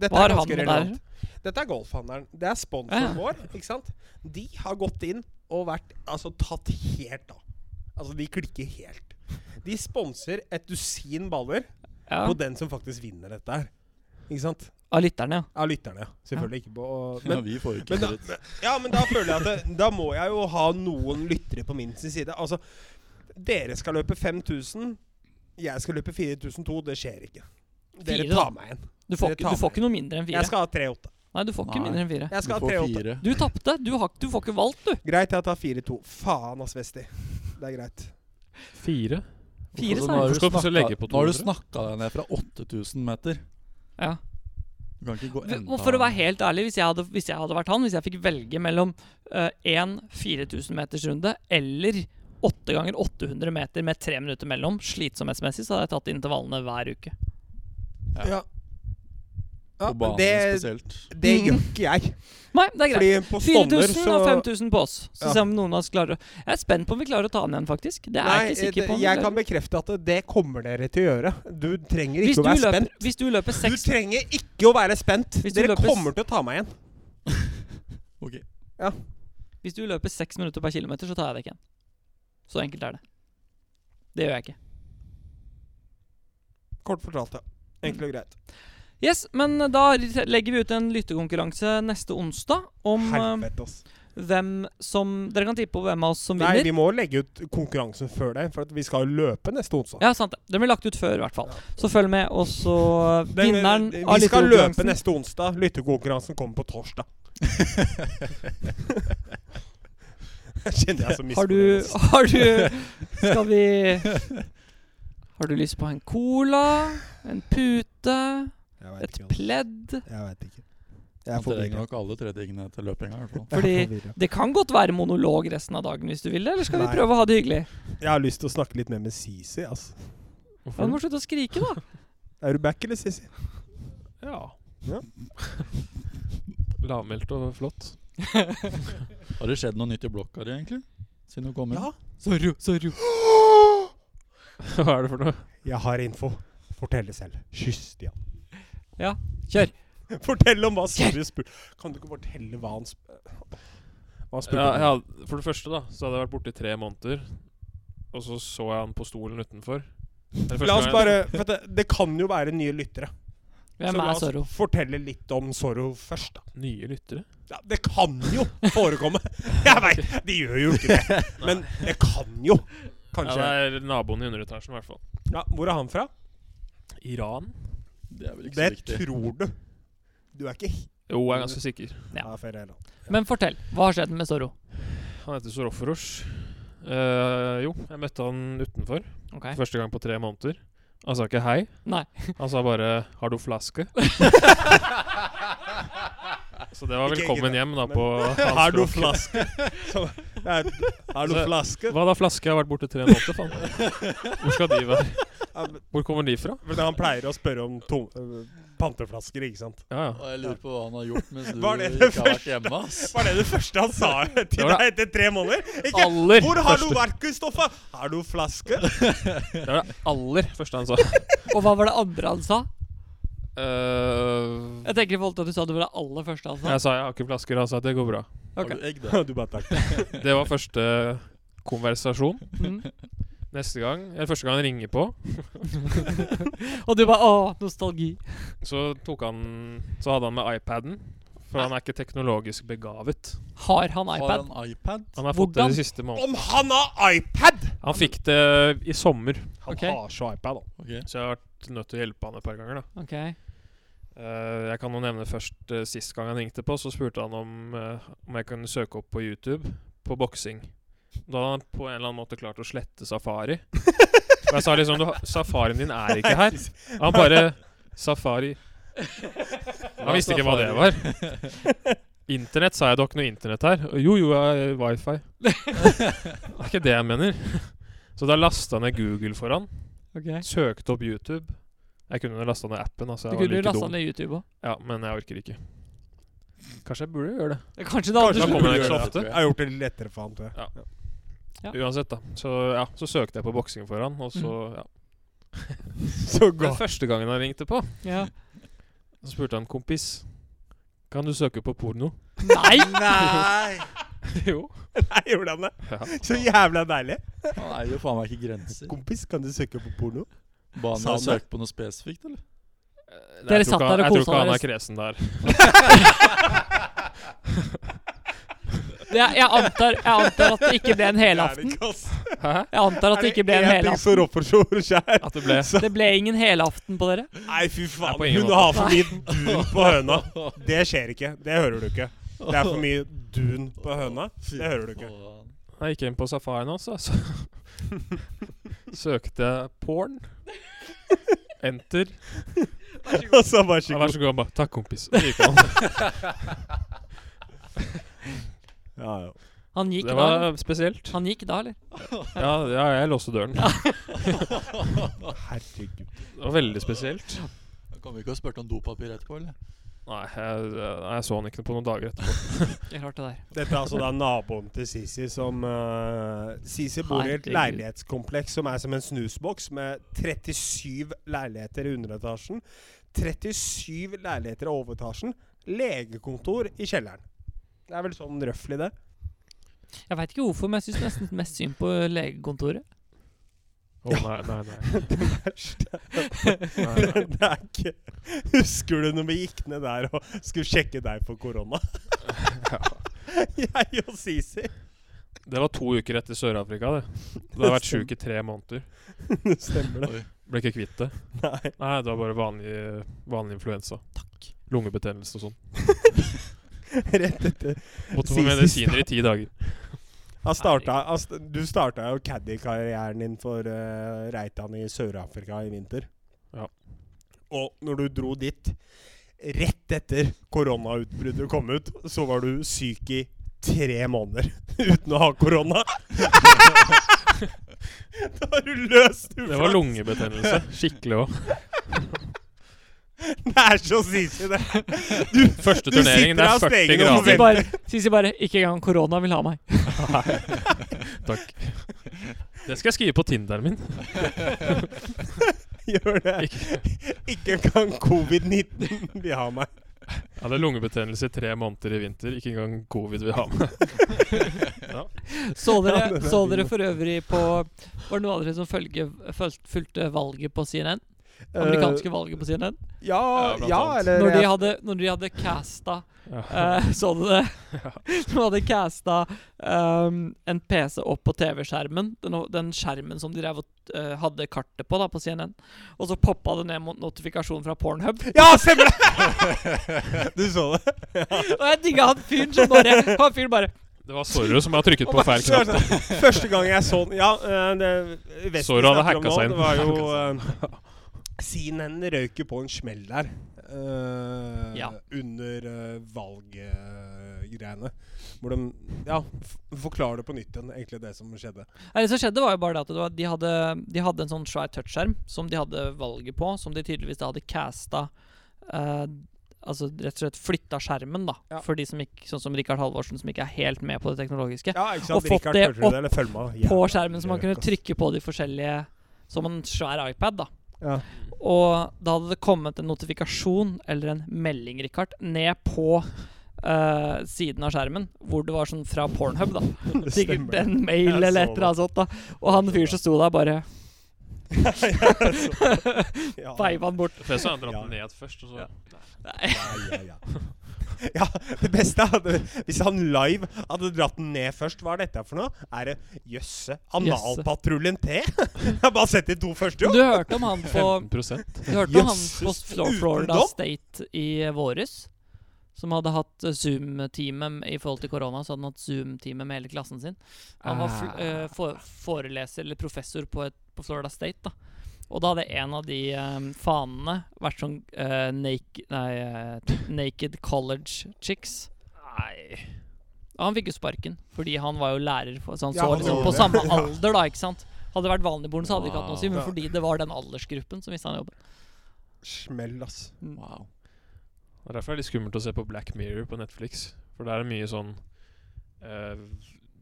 S1: Dette er
S2: Var han
S1: ganske
S2: der?
S1: relevant. Dette er golfhandleren. Det er sponsoren
S2: Ja.
S1: vår. ikke sant? De har gått inn og vært Altså tatt helt av. Altså, de klikker helt. De sponser et dusin baller
S2: Ja,
S1: på den som faktisk vinner dette her. Ikke sant?
S2: av lytterne, ja.
S1: Av lytterne, ja. Selvfølgelig ikke på
S3: Men,
S1: men,
S3: vi får jo ikke
S1: men da,
S3: dritt.
S1: ja, men da føler jeg at det, Da må jeg jo ha noen lyttere på min sin side. Altså, dere skal løpe 5000, jeg skal løpe 4002. Det skjer ikke. Dere
S2: Fire, da.
S1: tar meg igjen.
S2: Du får,
S1: Dere
S2: ikke,
S1: tar
S2: du får
S1: meg.
S2: ikke noe mindre enn fire.
S1: Jeg skal ha 3-8.
S2: Nei, du får ikke
S3: Nei.
S2: mindre enn fire.
S1: Jeg
S3: Du
S1: skal
S3: får
S1: ha 3-8.
S3: fire.
S2: Du tapte. Du, har- du får ikke valgt, du.
S1: Greit, jeg tar 4-2. Faen, ass, Vesti. Det er greit.
S4: Fire?
S2: Fire,
S3: Altså,
S2: sa
S3: nå har
S2: jeg.
S3: du
S4: Hvorfor skal du plutselig
S3: snakka-
S4: legge på
S3: Nå har du
S4: 200?
S3: snakka deg ned fra 8000 meter.
S2: Ja.
S3: Du kan ikke gå
S2: V-
S3: enda
S2: og For å være helt ærlig, hvis jeg hadde, hvis jeg hadde vært han, hvis jeg fikk velge mellom eh, en 4000 meters runde eller 8 ganger 800 meter med tre minutter mellom, slitsomhetsmessig, så hadde jeg tatt intervallene hver uke.
S3: Ja.
S1: Ja.
S3: på
S1: Ja, men
S3: banen
S1: det,
S3: spesielt.
S1: det
S2: Mhm.
S1: gjør ikke jeg.
S2: Nei, det er greit.
S1: Fordi på Stovner
S2: 4000
S1: så
S2: og 5000 på oss. Så
S1: Ja.
S2: ser vi om noen av oss klarer å- Jeg er spent på om vi klarer å ta den igjen, faktisk. Det er jeg ikke sikker
S1: det-
S2: på. om vi
S1: jeg
S2: klarer.
S1: kan bekrefte at det kommer dere til å gjøre. Du trenger ikke å
S2: hvis, du
S1: være
S2: løper,
S1: spent.
S2: hvis du løper
S1: Du
S2: seks
S1: trenger ikke å være spent.
S2: Hvis du
S1: Dere
S2: løper s-
S1: kommer til å ta meg igjen.
S3: Ok.
S2: Hvis du løper seks minutter per kilometer, så tar jeg deg ikke igjen. Så enkelt er det. Det gjør jeg ikke.
S1: Kort fortalt, ja. Enkelt og greit.
S2: Yes, men da legger vi ut en lyttekonkurranse neste onsdag om eh,
S1: Helvete, ass.
S2: hvem som Dere kan tippe på hvem av oss som
S1: Nei,
S2: vinner.
S1: vi må legge ut konkurransen før det, for at vi skal løpe neste onsdag.
S2: Ja, sant det. Den blir lagt ut før, i hvert fall. Så følg med, og så
S1: Den- eh,
S2: Vinneren av
S1: vi skal løpe
S2: lyttekonkurransen
S1: neste onsdag. Lyttekonkurransen kommer på torsdag. Jeg Kjenner jeg så
S2: Har du
S1: misfornøyd. ass.
S2: Har du Skal vi Har du lyst på en cola? En pute?
S1: Jeg vet
S2: Et
S1: ikke, ass.
S2: pledd?
S1: Jeg vet ikke. Jeg
S3: Han
S1: er
S3: trenger
S1: forvirra.
S3: nok alle tre tingene til løpinga. i hvert fall.
S2: Fordi- Det kan godt være monolog resten av dagen hvis du vil det, eller skal vi
S1: Nei.
S2: prøve å ha det hyggelig?
S1: Jeg har lyst til å snakke litt mer med Sisi. Altså.
S2: Ja, Du
S4: Hvorfor?
S2: må slutte å skrike, da.
S1: Er du back eller Sisi?
S4: Ja.
S1: Ja.
S4: Lavmælt og flott.
S3: Har det skjedd noe nytt i blokka di, egentlig? Siden du kom inn?
S1: Ja.
S2: Sorry, sorry.
S4: Hva er det for noe?
S1: Jeg har info. Fortell det selv. Kyss Stian.
S2: Ja, kjør.
S1: Fortell om hva Snorre spurte Kan du ikke fortelle hva han spurte Hva han spurte
S4: Ja,
S1: om?
S4: jeg hadde, for det første da Så hadde jeg vært borte i tre måneder Og så så jeg han på stolen utenfor Det er første
S1: La oss
S4: gang
S1: bare for det, det kan jo være nye lyttere. Så
S2: Hvem
S1: la
S2: er
S1: oss
S2: Zorro?
S1: fortelle litt om Zorro først, da.
S4: jeg- Nye lyttere
S1: Ja, det kan jo forekomme! Jeg veit, de gjør jo ikke det. Men det kan jo.
S4: ja,
S1: Kanskje.
S4: Det er naboen i underetasjen i hvert fall
S1: Ja, hvor er han fra?
S4: Iran?
S3: Det er vel ikke
S1: Det
S3: så viktig.
S1: tror du. Du er ikke
S4: Jo, jeg er ganske sikker
S2: Ja.
S1: Ja, feil heller.
S2: Men fortell, hva har skjedd med Zorro?
S4: Han heter Soroforos Eh, Jo, jeg møtte han utenfor
S2: Ok.
S4: Første gang på tre måneder Han sa ikke hei
S2: Nei.
S4: Han sa bare Har du flaske? Så det var
S1: Ikke
S4: velkommen
S1: egentlig,
S4: hjem da
S1: men-
S4: på hans
S1: Har du
S4: språk.
S1: flaske? Så, det er, har du
S4: Så-
S1: flaske?
S4: Hva da flaske? Jeg har vært borte i tre måneder faen. Hvor skal de være?
S1: Ja, men-
S4: Hvor kommer de fra?
S1: men han pleier å spørre om tom, øh, panteflasker, ikke sant?
S4: Ja, ja
S3: Og jeg lurer på hva han har gjort mens du
S1: Var det det
S3: ikke har vært hjemme. ass.
S1: Var det det første han sa til
S4: var
S1: deg etter tre måneder? Ikke
S4: Aller
S1: 'Hvor har du
S4: første-
S1: vært, Kristoffer?' 'Har du flaske?'
S4: Det var det aller første han sa.
S2: Og hva var det andre han sa?
S4: Eh,
S2: Jeg tenker i forhold til at du sa det var det aller første han sa.
S4: jeg sa jeg har ikke flasker, han sa at det går bra.
S2: Ok.
S3: Har du egg, da?
S1: du bare takk.
S4: Det var første konversasjon.
S2: Mm.
S4: Neste gang, eller første gang han ringer på,
S2: Og du bare åh, nostalgi.
S4: så tok han Så hadde han med iPaden. For han er ikke teknologisk begavet.
S2: Har han
S3: Har
S2: iPad?
S3: han iPad?
S4: Han har fått
S2: Hvordan?
S4: det de siste månedene.
S1: Om han har iPad!
S4: Han fikk det i sommer,
S1: Han
S2: Ok.
S1: har så iPad, da.
S3: Ok.
S4: så jeg har vært nødt til å hjelpe han et par ganger. da
S2: Ok.
S4: Eh, Jeg kan jo nevne først eh, sist gang han ringte på, så spurte han om, eh, om jeg kunne søke opp på YouTube på boksing. Da hadde han på en eller annen måte klart å slette safari. Og jeg sa liksom du, har- Safarien din er ikke her. Han bare Safari Han visste ikke hva det var. Internett sa jeg det var ikke noe internett her. Og Jo, jo, jeg har eh, wifi. Det er ikke det jeg mener. Så da lasta jeg ned Google for han.
S2: Okay.
S4: Søkte opp YouTube. Jeg kunne lasta ned appen. Altså,
S2: Du
S4: jeg
S2: kunne jo
S4: var like
S2: lasta
S4: dum.
S2: ned YouTube òg.
S4: Ja, men jeg orker ikke. Kanskje jeg burde gjøre det.
S2: Kanskje det
S1: Kanskje
S4: Da
S2: hadde
S4: kommer
S1: burde
S4: jeg ikke så
S1: gjøre
S4: ofte.
S1: Jeg har gjort det litt lettere for han, tror jeg.
S2: Ja.
S4: Uansett, da. Så ja, så søkte jeg på boksing for han, og så ja.
S1: Så
S4: Den
S1: godt.
S4: første gangen han ringte på,
S2: ja.
S4: så spurte han kompis Kan du søke på porno?
S2: Nei!
S1: Nei!
S4: jo.
S1: Nei, gjorde han det?
S4: Ja.
S1: Så jævla deilig.
S3: Han eier jo faen meg ikke grenser.
S1: Kompis, kan du søke på porno?
S3: Ba han
S1: Sa
S3: meg
S1: han det?
S3: søke på noe spesifikt, eller?
S2: Dere
S4: Jeg tror
S2: satt
S4: ikke han-
S2: der og
S4: Jeg
S2: kosa
S4: tror ikke han
S2: dere.
S4: er kresen der.
S2: Det, jeg, antar, jeg antar at det ikke ble en helaften.
S4: Hæ?
S2: Jeg antar at det ikke ble en
S1: ting
S2: helaften.
S1: som roffer så skjær?
S4: At det ble
S1: Så-
S2: Det ble ingen helaften på dere.
S1: Nei, fy
S4: Nei,
S1: faen.
S4: på ingen
S1: Hun
S4: måte.
S1: har for mye dun på høna. Det skjer ikke. Det hører du ikke. Det er for mye dun på høna. Det hører du ikke.
S3: Faen.
S4: Jeg gikk inn på safarien hans, da. Så søkte jeg porn. Enter.
S1: Og så vær så
S4: Ja, vær
S1: god.
S4: så god. Han bare Takk, kompis. Så gikk han.
S1: Ja, ja.
S2: Han gikk
S4: Det
S2: da, eller?
S4: var spesielt.
S2: Han gikk da, eller?
S4: Ja, ja jeg låste døren. Det
S1: Herregud.
S4: var veldig spesielt.
S3: Han Kom ikke og spurte om dopapir etterpå, eller?
S4: Nei, jeg, nei, jeg så han ikke på noen dager etterpå.
S2: Det er klart det der.
S1: Dette er altså da naboen til Sisi som eh, Sisi bor i et
S2: Herregud.
S1: leilighetskompleks som er som en snusboks med 37 leiligheter i underetasjen. 37 leiligheter i overetasjen. Legekontor i kjelleren. Det er vel sånn røftlig det.
S2: Jeg veit ikke hvorfor, men jeg syns nesten mest synd på legekontoret.
S4: Å nei, nei, nei.
S1: det er ikke Husker du når vi gikk ned der og skulle sjekke deg for korona? Jeg og Sisi.
S4: Det var to uker etter Sør-Afrika, det. Det har vært sjuk i tre måneder.
S1: Stemmer det?
S3: Oi.
S4: Ble ikke kvitt det.
S1: Nei.
S4: Nei, det var bare vanlig, vanlig influensa.
S2: Takk.
S4: Lungebetennelse og sånn.
S1: Rett etter
S4: Måtte få
S1: Sist-
S4: medisiner i ti dager.
S1: Han starta, han st- du starta jo caddy-karrieren din for eh, Reitan i Sør-Afrika i vinter.
S4: Ja.
S1: Og når du dro dit rett etter koronautbruddet kom ut, så var du syk i tre måneder uten å ha korona. da har du løst
S4: Det var lungebetennelse. Skikkelig òg.
S1: Det er så sisig, det.
S4: Første
S1: Du sitter
S4: turneringen, det
S1: av
S4: er 40
S1: stegen og
S4: grader.
S2: Sisi bare, Sisi bare 'Ikke engang korona vil ha meg'.
S4: Takk. Det skal jeg skrive på Tinderen min.
S1: Gjør det. Ikke kan covid-19 vil ha meg.
S4: Jeg hadde lungebetennelse i tre måneder i vinter. Ikke engang covid vil ha meg.
S2: Så
S1: Ja,
S2: dere,
S1: den er
S2: så
S1: fin.
S2: dere for øvrig på Var det noen andre som følge, følt, fulgte valget på CNN? Amerikanske valget på CNN?
S1: Eh, Ja,
S4: Ja, blant
S1: ja
S4: annet.
S1: eller
S2: Når de hadde, når de hadde casta
S4: Ja.
S2: eh, Så du det? De hadde casta ehm, en PC opp på TV-skjermen. Den, den skjermen som de drev og, eh, hadde kartet på da, på CNN. Og så poppa det ned mot notifikasjon fra Pornhub.
S1: Ja, stemmer det! Du så det?
S2: Og jeg digga han fyren som bare Han fyren bare
S4: Det var Sorro som hadde trykket på feil knapp.
S1: Første gang jeg så den Ja, eh, det Vesti
S4: Sorry, han hadde
S1: snakker om
S4: hacka
S1: nå,
S4: seg inn.
S1: Det var jo eh, CNN røyk jo på en smell der. eh,
S2: Ja.
S1: Under eh, valggreiene. Hvor de Ja, f forklar det på nytt igjen, egentlig, det som skjedde.
S2: Nei, Det som skjedde, var jo bare det at det var, de, hadde, de hadde en sånn svær touchskjerm som de hadde valget på, som de tydeligvis da hadde casta eh, Altså rett og slett flytta skjermen, da.
S1: Ja.
S2: For de som ikke, sånn som Rikard Halvorsen, som ikke er helt med på det teknologiske.
S1: Ja, ikke
S2: Og
S1: sant?
S2: fått
S1: Richard,
S2: det
S1: hørte du det? Eller følg med.
S2: på
S1: Jævla
S2: skjermen, så man kunne
S1: røyk, ass.
S2: trykke på de forskjellige Som en svær iPad, da.
S1: Ja.
S2: Og da hadde det kommet en notifikasjon eller en melding, Rikard, ned på eh, siden av skjermen, hvor det var sånn fra Pornhub, da.
S1: Det
S2: Sikkert
S1: stemmer.
S2: en mail
S1: Jeg så
S2: eller et eller annet sånt. da Og han fyren som sto der, bare
S1: Ja.
S2: veiva han bort.
S4: For jeg så han dratt
S1: Ja.
S4: den ned først, og så
S2: Nei.
S1: Ja, ja, ja. ja, det beste hadde Hvis han live hadde dratt den ned først, hva er dette for noe? Er det jøsse analpatruljen T? Jeg har bare sett de to første, jo.
S2: Du hørte om han på
S4: 15
S2: Du hørte om han på
S1: Jesus,
S2: Flo- Florida
S1: utendom?
S2: State i våres? som hadde hatt eh, Zoom-teamet i forhold til korona, så hadde han hatt Zoom-teamet med hele klassen sin. Han var
S1: Ah.
S2: fl- eh, for foreleser eller professor på, et, på Florida State. da. Og da hadde en av de eh, fanene vært sånn eh, naked, nei, eh, naked college chicks.
S4: Nei
S2: Og han fikk jo sparken, fordi han var jo lærer, for, så han
S1: Ja,
S2: så
S1: han
S2: liksom
S1: gjorde
S2: på
S1: det. Ah,
S2: samme alder, da, ikke sant. Hadde det vært vanligboren, så hadde det ikke hatt noe å si, men
S1: Wow.
S2: fordi det var den aldersgruppen, så mista han jobben.
S1: Smell, ass.
S3: Wow.
S4: Det er derfor det er litt skummelt å se på Black Mirror på Netflix. For der er mye sånn eh,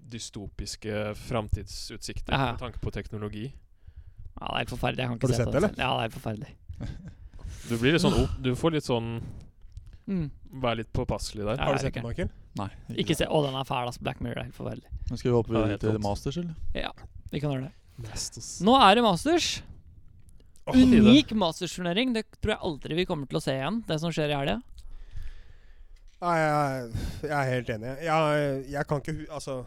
S4: dystopiske framtidsutsikter
S2: Ja.
S4: med tanke på teknologi.
S2: Ja, det er helt forferdelig. Jeg kan ikke
S1: Har du
S2: se
S1: sett
S2: på
S1: det,
S2: det. selv. Ja, det er helt forferdelig.
S4: Du blir litt sånn opp, Du får litt sånn
S2: Mm.
S4: Vær litt påpasselig der.
S2: Ja,
S1: Har du
S2: det er
S1: sett
S2: ikke.
S1: det, Michael?
S3: Nei.
S2: Ikke se Å, den er fæl, ass. Black Mirror er helt forferdelig.
S3: Nå skal vi hoppe
S4: Ja, det er
S3: videre
S4: helt
S3: til
S4: sant.
S3: masters, eller?
S2: Vi kan gjøre det.
S1: Nastas.
S2: Nå er det Masters.
S4: Åh, Ida.
S2: Unik Masters-turnering. Det tror jeg aldri vi kommer til å se igjen, det som skjer i helga.
S1: Nei, jeg, jeg er helt enig. Jeg, jeg kan ikke hu- Altså,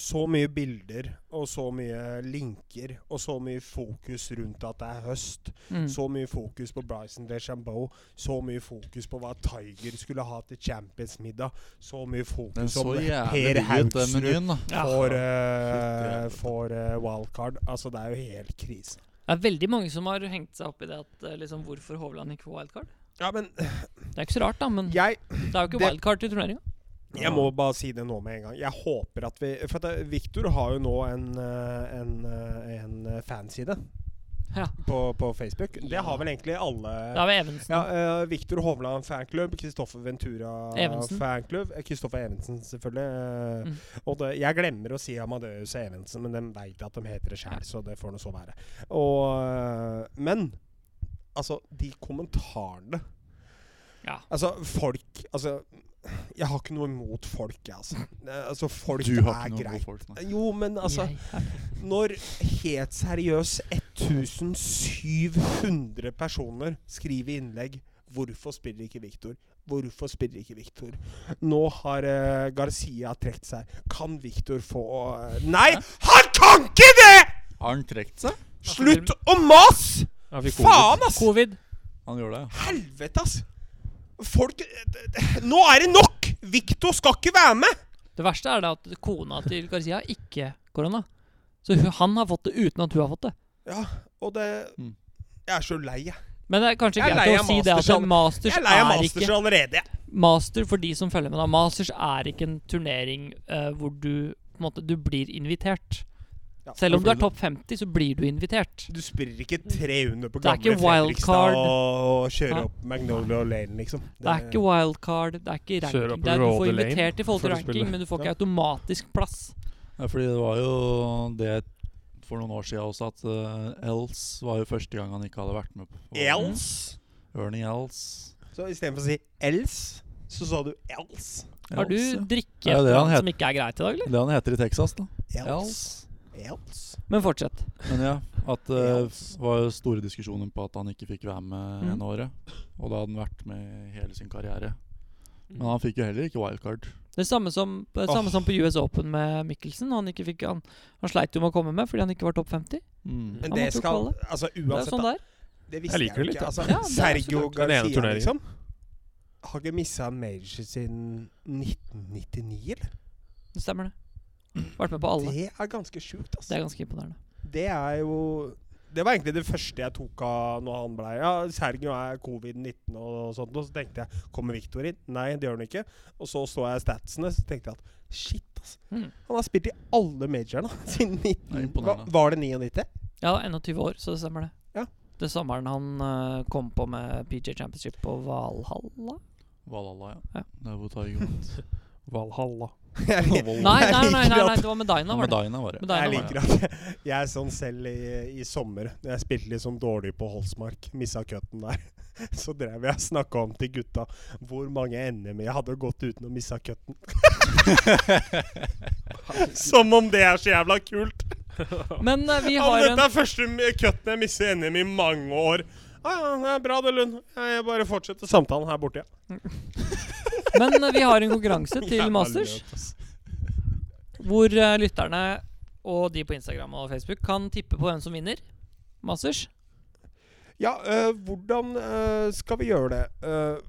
S1: så mye bilder og så mye linker og så mye fokus rundt at det er høst.
S2: Mm.
S1: Så mye fokus på Bryson DeChambeau. Så mye fokus på hva Tiger skulle ha til Champions-middag. Så mye
S3: Den
S1: fokus
S3: så
S1: om
S3: jævlig
S1: Per
S3: digg ut, den
S1: Haugsrud
S3: menyen. da.
S2: Ja.
S1: for,
S3: Fytti
S1: eh,
S3: helvete.
S1: for eh, wildcard. Altså, det er jo helt krise.
S2: Det er veldig mange som har hengt seg opp i det at eh, liksom, hvorfor Hovland ikke får wildcard.
S1: Ja, men
S2: Det er ikke så rart, da, men
S1: jeg
S2: det er jo ikke
S1: det-
S2: wildcard til turneringa.
S1: Jeg må bare si det nå med en gang. Jeg håper at vi For at det- Victor har jo nå en, eh, en, eh, en eh, fanside
S2: Ja.
S1: på, på Facebook. Det
S2: Ja.
S1: har vel egentlig
S2: Det
S1: alle
S2: er ved Evensen.
S1: ja, eh, Victor Hovland fanklubb, Kristoffer Ventura
S2: Evensen.
S1: fanklubb. eh, Kristoffer Evensen, selvfølgelig. eh,
S2: Mm.
S1: Og det, jeg glemmer å si Amadeus og Evensen, men de veit at de heter det sjæl, så det får nå så være. Og, eh, men altså, de kommentarene
S2: Ja.
S1: Altså, folk Altså, jeg har ikke noe imot folk, jeg, altså. Eh, altså folk
S3: Du har
S1: er
S3: ikke noe
S1: greit.
S3: god folk, nei.
S1: Jo, men altså
S2: Jeg er-
S1: Når helt seriøst 1700 personer skriver innlegg 'Hvorfor spiller ikke Victor?' Hvorfor spiller ikke Victor? Nå har eh, Garcia trukket seg. Kan Victor få eh, Nei, han kan ikke det!
S3: Har han trukket seg?
S1: Slutt å mase!
S4: Han fikk covid.
S1: Faen, ass!
S2: Covid.
S3: Han gjorde det.
S1: Helvete, ass! Folk eh, Nå er det nok! Victor skal ikke være med!
S2: Det verste er det at kona til Garcia har ikke korona. Så hun, han har fått det uten at hun har fått det.
S1: Ja, og det
S3: Mm.
S1: Jeg er så lei, jeg.
S2: Men det er kanskje
S1: Jeg er lei
S2: greit å
S1: av
S2: si det at
S1: Masters
S2: en masters
S1: Jeg er lei av
S2: er ikke
S1: Masters allerede. jeg.
S2: Master, for de som følger med, da. Masters er ikke en turnering eh, hvor du på en måte, du blir invitert.
S1: Ja.
S2: Selv om du er topp 50, så blir du invitert.
S1: Du spiller ikke 300 på
S2: Det er
S1: gamle
S2: ikke wildcard.
S1: Fredrikstad og, og kjører
S2: Hæ?
S1: opp Magnolia og Lane, liksom.
S2: Det er ikke wildcard, det er ikke ranking.
S4: Kjører opp
S2: Det er, du
S4: Road
S2: får
S4: Lane
S2: invitert i forhold til
S4: for å spille.
S2: ranking, men du får ikke
S1: Ja.
S2: automatisk plass.
S3: Ja, fordi det var jo det for noen år siden også, at eh, Els var jo første gang han ikke hadde vært med på
S1: Els.
S3: Ernie Els.
S1: Så istedenfor å si Els, så sa du Els.
S2: Har du
S3: Els, ja. altså.
S2: drikke
S3: Ja, det er han
S2: som ikke er greit i dag, eller?
S3: Det han heter i Texas, da. Els.
S1: Els. Els.
S2: Men fortsett.
S3: Men ja, at det
S1: Els.
S3: var jo store diskusjoner på at han ikke fikk være med
S2: Mm.
S3: en året. Og da hadde han vært med hele sin karriere.
S2: Mm.
S3: Men han fikk jo heller ikke wildcard.
S2: Det er samme som, det er samme
S1: Åh.
S2: som på US Open med Mikkelsen. Han, ikke fikk, han, han sleit jo med å komme med fordi han ikke var topp 50.
S3: Mm.
S1: Men
S2: Han
S1: det
S2: måtte jo
S1: skal
S2: kvalle.
S1: Altså
S2: Det er
S1: uansett,
S2: sånn
S1: da.
S2: det er.
S1: Det visste
S4: Jeg
S1: jeg,
S4: liker det litt,
S1: ikke. Altså,
S2: Ja, det er
S1: Sergio
S2: absolutt.
S4: Den ene
S1: Garcia,
S4: turneringen.
S1: liksom. Har ikke missa en major siden 1999, eller?
S2: Det stemmer, det. Vært med på alle.
S1: Det er ganske sjukt, altså. ass.
S2: Det er ganske imponerende.
S1: Det er jo Det var egentlig det første jeg tok av når han blei Ja, Sergio er covid-19 og sånt, og så tenkte jeg Kommer Victor inn? Nei, det gjør han ikke. Og så så jeg statsene, så tenkte jeg at shit, altså.
S2: Mm.
S1: Han har spilt i alle majorene siden 19...
S3: Det er
S1: Hva,
S3: imponerende.
S1: var det 99?
S2: Ja, 21 år, så det stemmer det.
S1: Ja.
S2: Det er sommeren han eh, kom på med PJ Championship på Valhalla?
S3: Valhalla, ja.
S2: Ja.
S3: Det er hvor Tiger vant.
S4: Valhalla.
S1: Jeg li-
S3: Nei,
S2: Nei,
S1: jeg liker
S2: nei, nei, nei, nei
S1: at-
S2: det var med Dyna, var det.
S3: Medina var det.
S2: Med
S1: Jeg
S2: Dyna var det.
S1: liker at jeg, jeg er sånn selv i, i sommer. Når jeg spilte litt sånn dårlig på Holsmark, missa cutten der. Så drev jeg og snakka om til gutta hvor mange NM jeg hadde gått uten å missa cutten. Som om det er så jævla kult!
S2: Men eh, vi
S1: Ja,
S2: har
S1: men
S2: en
S1: dette er første m- cutten jeg misser i NM i mange år. Ja, ja, det er bra det, Lund. Ja, Jeg bare fortsetter samtalen her borte. Ja.
S2: Men eh, vi har en konkurranse til
S1: Jævla
S2: Masters,
S1: løt, ass.
S2: hvor eh, lytterne og de på Instagram og Facebook kan tippe på hvem som vinner. Masters.
S1: eh, Ja, øh, hvordan øh, skal vi gjøre det? Øh,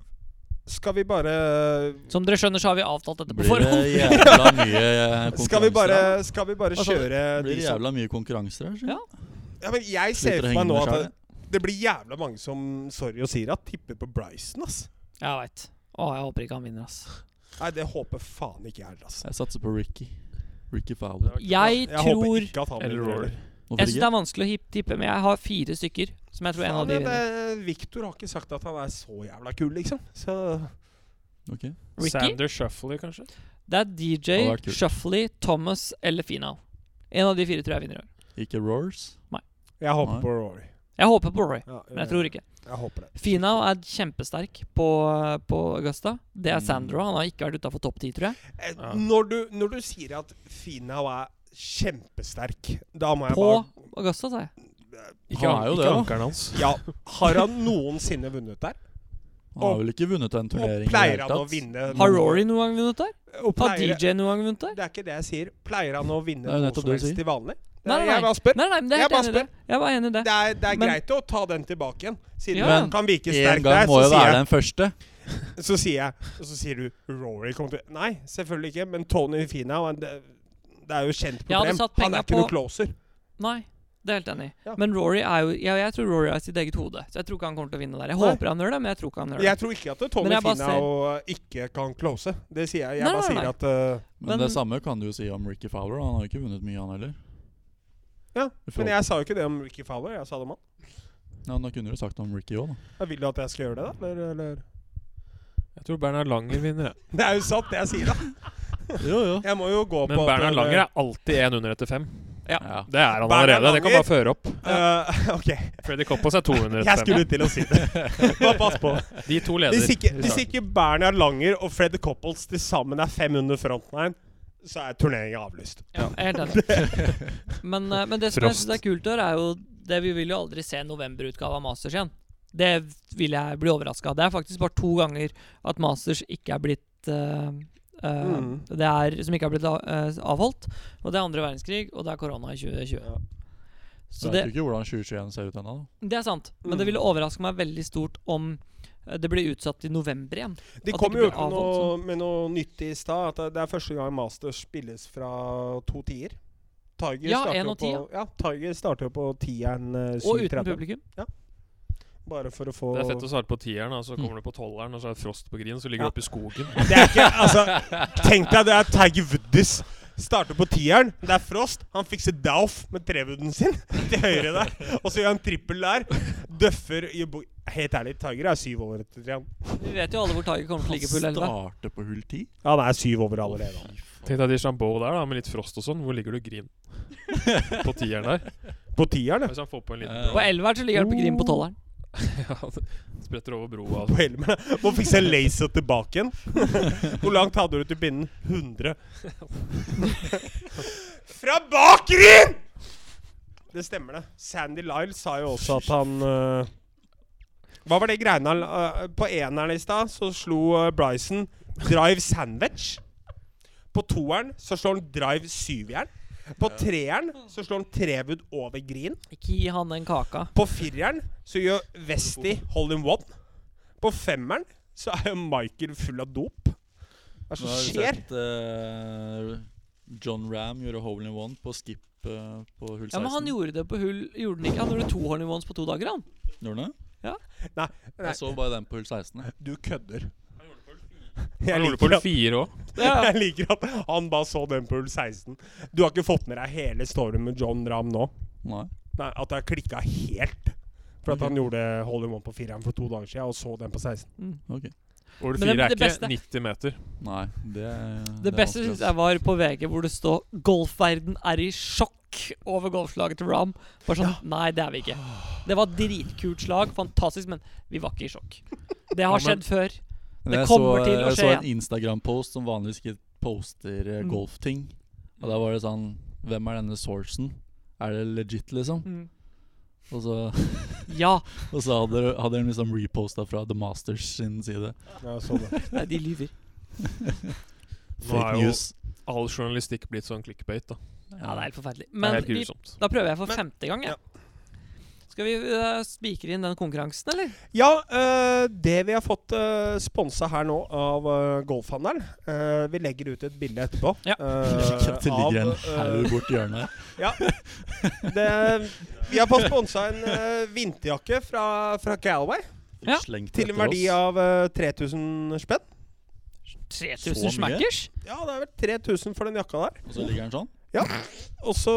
S1: Skal vi bare
S2: Som dere skjønner, så har vi avtalt dette på
S3: Blir det
S2: forhånd.
S3: jævla mye eh, konkurranser?
S1: Skal vi bare,
S3: her?
S1: skal vi bare
S2: Altså,
S1: kjøre
S3: Blir
S1: de
S3: det
S1: som
S3: jævla mye konkurranser her?
S2: Ja.
S3: Ja.
S1: ja, men Jeg ser for meg nå at det, det blir jævla mange som sorry å sier at tipper på Bryson, ass.
S2: Jeg veit. Å, jeg håper ikke han vinner, ass.
S1: Nei, det håper faen ikke jeg heller, ass.
S3: Jeg satser på Ricky. Ricky Fowler.
S2: Jeg
S1: Jeg håper
S2: tror
S1: ikke at han
S4: Eller
S1: vinner.
S4: Rory.
S3: Hvorfor
S2: Jeg syns det
S3: ikke?
S2: er vanskelig å hip- tippe, men jeg har fire stykker som jeg tror en av de
S1: Faen,
S2: vinner.
S1: det- Victor har ikke sagt at han er så jævla kul, liksom. Så
S3: Ok.
S2: Ricky?
S4: Sander Shuffley, kanskje?
S2: Det er DJ,
S3: Hadde vært kult.
S2: Shuffley, Thomas eller Final. En av de fire tror jeg vinner i år.
S3: Ikke Roars?
S1: jeg håper
S3: Nei.
S1: på Rory.
S2: Jeg håper på Rory,
S1: Ja, eh,
S2: men jeg tror ikke.
S1: Jeg håper det.
S2: Final er kjempesterk på, på Augusta. Det
S3: Mm.
S2: er Sandro. Han har ikke vært utafor topp ti, tror jeg.
S1: Eh,
S4: Ja.
S1: Når, du, når du sier at Finau er kjempesterk, da må jeg
S2: På
S1: bare
S2: Augusta, sa jeg.
S4: Ikke,
S3: Han
S4: an-
S3: er jo
S4: ikke
S3: det, da.
S4: ankeren hans.
S1: Ja, har han noensinne vunnet der?
S3: Han har
S1: Og-
S3: vel ikke vunnet en
S1: Og
S3: turnering? i det
S1: pleier
S3: hele
S1: han å
S3: tatt?
S1: vinne
S2: Har Rory noen gang vunnet der?
S1: Og
S2: Har
S1: pleier,
S2: DJ noen gang vunnet der?
S1: Det er ikke det jeg sier. Pleier han å vinne
S3: Det er jo
S1: noe
S3: nettopp
S1: som
S3: det du
S1: helst
S3: sier.
S1: til vanlig?
S2: Nei, nei,
S1: Jeg bare spør.
S2: Nei, nei, men det er
S1: Jeg
S2: jeg
S1: bare
S2: helt enig i det. Jeg var enig i det.
S1: Det er, det er
S2: Men-
S1: greit å ta den tilbake igjen. Siden
S2: Ja.
S1: den kan virke
S3: En
S1: sterk
S3: gang
S1: der,
S3: må
S1: så
S3: jo være
S1: sier,
S3: den første.
S1: jeg, så sier jeg Og så sier du Rory kommer til Nei, selvfølgelig ikke, men Tony Finau han- det, det er jo kjent
S2: Jeg hadde
S1: problem.
S2: satt
S1: Han
S2: penger
S1: er ikke
S2: på-
S1: noe closer.
S2: Nei, det er jeg helt enig. i.
S1: Ja.
S2: Men Rory er jo ja, Jeg tror Rory er sitt eget hode. Så jeg tror ikke han kommer til å vinne der. Jeg
S1: Nei.
S2: håper han gjør det, men jeg tror ikke han gjør det.
S1: Jeg tror ikke at Tony
S2: Men jeg bare
S1: Finau ikke kan close. Det sier jeg. Jeg
S2: Nei,
S1: bare
S2: nei,
S1: sier
S2: nei.
S1: at eh,
S2: Men-
S3: Men, det samme kan du jo si om Ricky Fowler. Han har jo ikke vunnet mye, han heller.
S1: Ja,
S3: I forhold-
S1: Men jeg sa jo ikke det om Ricky Fowler. Jeg sa det om han.
S3: Ja, men Da kunne du sagt om Ricky òg, da.
S1: Ja, Vil du at jeg skal gjøre det, da? Eller, eller?
S4: Jeg tror Bernhard Langer vinner, jeg.
S1: Det er jo sant, det jeg sier, da.
S3: Jo, jo.
S1: Jeg må jo gå på
S4: Men
S1: at,
S4: Bernhard
S1: eh,
S4: Langer er alltid én under etter fem.
S3: Ja.
S4: Det er han
S1: Bernhard
S4: allerede. Det kan
S1: Langer.
S4: bare føre opp.
S1: eh, OK.
S4: Freddy Koppos er to under
S1: Jeg
S4: etter fem.
S1: skulle til å si det. Bare pass på.
S4: De to leder.
S1: Hvis ikke,
S4: i
S1: hvis
S4: starten.
S1: ikke Bernhard Langer og Fred Coppels til sammen er 500 frontline, så er turneringen avlyst.
S2: Ja, jeg er helt enig. Men, eh, men det som jeg
S4: Frost.
S2: syns er kult i år, er jo det Vi vil jo aldri se en novemberutgave av Masters igjen. Det vil jeg bli overraska av. Det er faktisk bare to ganger at Masters ikke er blitt eh, eh,
S1: Mm.
S2: Det er, Som ikke er blitt eh, avholdt. Og det er andre verdenskrig, og det er korona i 2020.
S1: Ja.
S3: Så
S2: Så
S3: jeg
S2: det,
S3: vet jo ikke hvordan 2021 ser ut ennå. da.
S2: det er sant.
S1: Mm.
S2: Men det ville overraske meg veldig stort om eh, det blir utsatt til november igjen.
S1: De
S2: At
S1: kom
S2: det
S1: jo
S2: ikke
S1: ut
S2: ble
S1: med noe,
S2: avholdt
S1: med noe nytt i stad. At det- det er første gang Masters spilles fra to tier. Tiger
S2: Ja,
S1: starter
S2: en
S1: jo
S2: og ti,
S1: på, ja, Tiger starter jo på tieren eh,
S2: Og uten
S1: 7.30.
S2: publikum.
S1: Bare for å få
S4: Det er fett å starte på tieren, og så kommer du på tolveren, og så er det frost på grinen, så ligger du
S1: Ja.
S4: oppe i skogen.
S1: Det er ikke, altså Tenk deg det er Tiger Woodies. Starter på tieren. Det er Frost. Han fikser Dauf med trevooden sin til høyre der. Og så gjør han trippel der. Døffer i bo- Helt ærlig, Tiger er syv over etter tre. han.
S2: Vi vet jo alle hvor Tiger kommer til å ligge på
S3: Han
S2: hull 11.
S3: starter på hull 10.
S1: Ja, Han er syv over allerede. han.
S4: Tenk deg Deschambeau der, da, med litt frost og sånn. Hvor ligger du grin? På tieren der.
S1: På tieren, ja.
S4: Hvis han får på en liten
S3: Eh.
S2: På 11 her så ligger han på Grim på 12-eren.
S4: ja, det Spretter over broa.
S1: På helmen. Må fikse laser tilbake igjen. Hvor langt hadde du til pinnen? 100. Fra bak, Green! Det stemmer, det. Sandy Lyle sa jo også at han øh, Hva var det greiene han øh, På eneren i stad så slo øh, Bryson drive sandwich. På toeren så slår han drive syvjern. På treeren så slår han trevudd over green.
S2: Ikke gi han den kaka.
S1: På fireren så gjør Westy hole in one. På femmeren så er jo Michael full av dop. Hva er det
S3: Nå
S1: som
S3: har vi
S1: skjer?
S3: sett eh, John Ram gjøre hole in one på skip eh, på hull 16.
S2: Ja, men han gjorde det på hull Gjorde han ikke? Han gjorde to hole in ones på to dager, han.
S3: Gjorde han det?
S1: Nei,
S3: Jeg så bare den på hull 16. jeg.
S1: du kødder.
S4: Han
S1: Jeg
S4: gjorde det på
S1: liker,
S4: en firer òg.
S1: at, jeg liker at han bare så den på hull 16. Du har ikke fått med deg hele storyen med John Ram nå?
S3: Nei.
S1: Nei, At jeg klikka helt? For at
S3: Ok.
S1: han gjorde hole in one på fireren for to dager siden, og så den på 16.
S2: Mm.
S3: Ok.
S4: Over
S2: Men det-
S4: fire er
S2: det beste-
S4: ikke 90 meter.
S3: Nei, det er-
S2: Det beste
S3: er vanskelig,
S2: synes
S3: ass.
S2: jeg var på VG, hvor det står 'Golfverden er i sjokk' over golfslaget til Ram. Bare sånn Nei, det er vi ikke. Det var dritkult slag, fantastisk, men vi var ikke i sjokk. Det har
S4: Ja, men-
S2: skjedd før.
S3: Men
S2: Det
S3: jeg
S2: kommer
S3: så,
S2: til å
S3: Jeg
S2: skje
S3: så en
S2: igjen.
S3: Instagram-post som vanligvis ikke poster eh,
S2: Mm.
S3: golfting. Og da var det sånn Hvem er denne sourcen? Er det legit, liksom?
S2: Mm.
S3: Og så,
S2: Ja,
S3: og så hadde, hadde hun liksom reposta fra The Masters sin side.
S1: Ja, så det.
S2: nei, de lyver.
S4: Nå
S3: Fake
S4: er jo
S3: news.
S4: all journalistikk blitt sånn clickbait, da.
S2: Ja, det er helt forferdelig.
S4: Det
S2: Men
S4: er helt
S2: vi,
S4: grusomt.
S2: da prøver jeg for
S1: Men-
S2: femte gang, jeg. Skal vi eh, spikre inn den konkurransen, eller?
S1: Ja, eh, det vi har fått uh, sponsa her nå av eh, Golfhandelen eh, Vi legger ut et bilde etterpå.
S2: Ja.
S1: eh,
S3: det ligger en
S1: av, eh,
S3: haug borti hjørnet.
S1: det, vi har fått sponsa en eh, vinterjakke fra, fra Galway
S2: Ja,
S3: Slengt
S1: til en
S3: etter
S1: verdi
S3: oss.
S1: av eh, 3000 spenn.
S2: 3000
S3: mye?
S2: smackers?
S1: Ja, det er vel 3000 for den jakka der.
S3: Og så ligger den sånn.
S1: Og så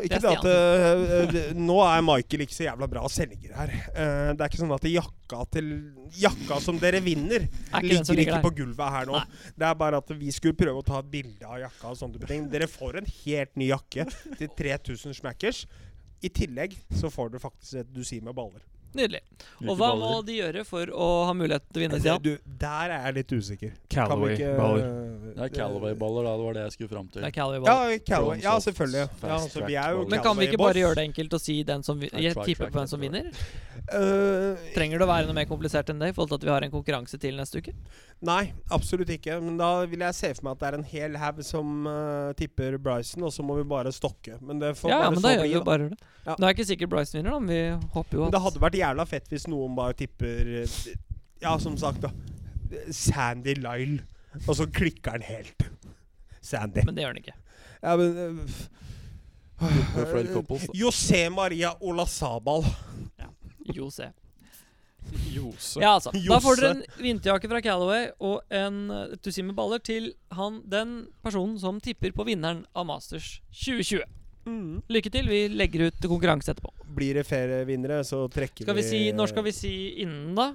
S1: Ikke
S2: Det
S1: det
S2: er
S1: at eh, eh, Nå er Michael ikke så jævla bra selger her. Eh, det er ikke sånn at jakka til Jakka som dere vinner,
S2: Er ikke den som
S1: ligger
S2: ligger
S1: ikke
S2: der.
S1: på gulvet her nå. Det er bare at vi skulle prøve å ta et bilde av jakka og sånne type ting. Dere får en helt ny jakke til 3000 smackers. I tillegg så får dere faktisk et dusin med baller.
S2: Nydelig.
S3: Hvilke
S2: Og hva må
S3: baller?
S2: de gjøre for å ha mulighet til å vinne? Stian?
S1: Du, der er jeg litt usikker. Kan vi ikke,
S4: Callaway-baller.
S1: eh,
S3: Det er Calaway-baller, da. Det var det jeg skulle fram til.
S2: Det er Callaway
S1: Ja,
S2: Ball.
S1: Callaway. ja,
S3: Fast
S1: selvfølgelig. Ja,
S3: track
S1: altså, vi er jo
S3: baller.
S2: Men kan vi ikke
S1: Callaway-boys.
S2: bare gjøre det enkelt og si den som vi,
S3: Nei,
S2: jeg
S3: track,
S2: tipper
S3: track,
S2: på hvem som
S3: track.
S2: vinner?
S1: Eh,
S2: Trenger det å være noe mer komplisert enn det, i forhold til at vi har en konkurranse til neste uke?
S1: Nei, absolutt ikke. Men da vil jeg se for meg at det er en hel haug som eh, tipper Bryson, og så må vi bare stokke. Men det får
S2: Ja, ja,
S1: bare
S2: men
S1: så
S2: da gjør vi
S1: bli.
S2: jo bare det.
S1: Ja.
S2: Nå er ikke sikkert Bryce vinner, da, men vi håper jo
S1: Men
S2: at
S1: det hadde vært jævla fett hvis noen bare tipper eh, Ja, som sagt, da. Sandy Lyle. Og så klikker han helt. Sandy.
S2: Men det gjør den ikke.
S1: Ja, men eh,
S3: Det er Fred Couples, da.
S1: José Maria Olasabal.
S2: Jo, se.
S4: Jose.
S2: Ja, altså. Da
S1: Josse.
S2: får dere en vinterjakke fra Callaway og en eh, et dusin med baller til han, den personen som tipper på vinneren av Masters 2020. Lykke til. Vi legger ut konkurranse etterpå.
S1: Blir det ferievinnere, så trekker
S2: Skal vi si, når skal vi si innen, da?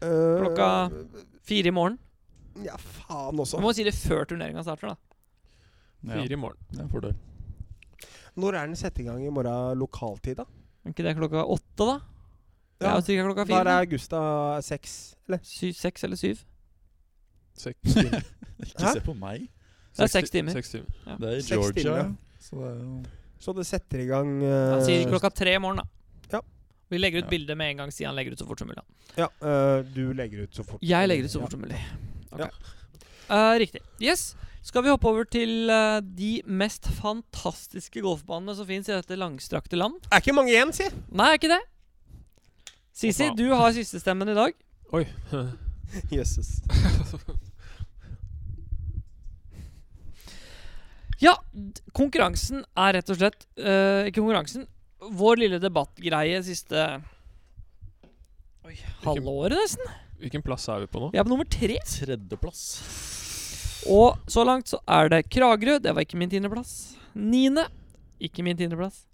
S1: Eh,
S2: klokka- Fire i morgen?
S1: Ja, faen
S2: Vi
S1: også.
S2: må si det før turneringa starter, da.
S3: Ja,
S4: Fire i morgen.
S3: det er en fordel.
S1: Når er den satt i gang i morgen lokaltid, da?
S2: Er ikke det klokka åtte, da? Det er jo sikkert klokka
S1: Da er
S2: fire.
S1: det Augusta seks, eller?
S2: da. Syv, seks eller syv?
S4: Seks timer.
S3: Ikke
S1: Hæ?
S3: se på meg.
S2: Det er seks timer.
S4: Seks timer.
S3: Det er i
S1: Seks
S3: Georgia.
S1: timer.
S3: Så det er jo
S1: Så det setter i gang
S2: Da
S1: eh,
S2: sier klokka tre i morgen, da.
S1: Ja.
S2: Vi legger
S3: Ja.
S2: ut bilde med en gang Stian legger ut så fort som mulig. da.
S1: Ja, eh, du legger ut så fort.
S2: Jeg legger ut så fort som mulig. Ok.
S1: Ja.
S2: Eh, riktig. Yes. Skal vi hoppe over til eh, de mest fantastiske golfbanene som fins i dette langstrakte land?
S1: Er ikke mange igjen, si!
S2: Nei, er ikke det? Sisi,
S4: Hoppa.
S2: du har sistestemmen i dag.
S4: Oi.
S1: Jøsses.
S2: Ja, d- konkurransen er rett og slett eh, Ikke konkurransen. Vår lille debattgreie siste Oi, halvåret, nesten.
S4: Hvilken plass er vi på nå?
S2: Vi er på nummer tre.
S3: tredjeplass.
S2: Og så langt så er det Kragerø. Det var ikke min tiendeplass. Niende. Ikke min tiendeplass.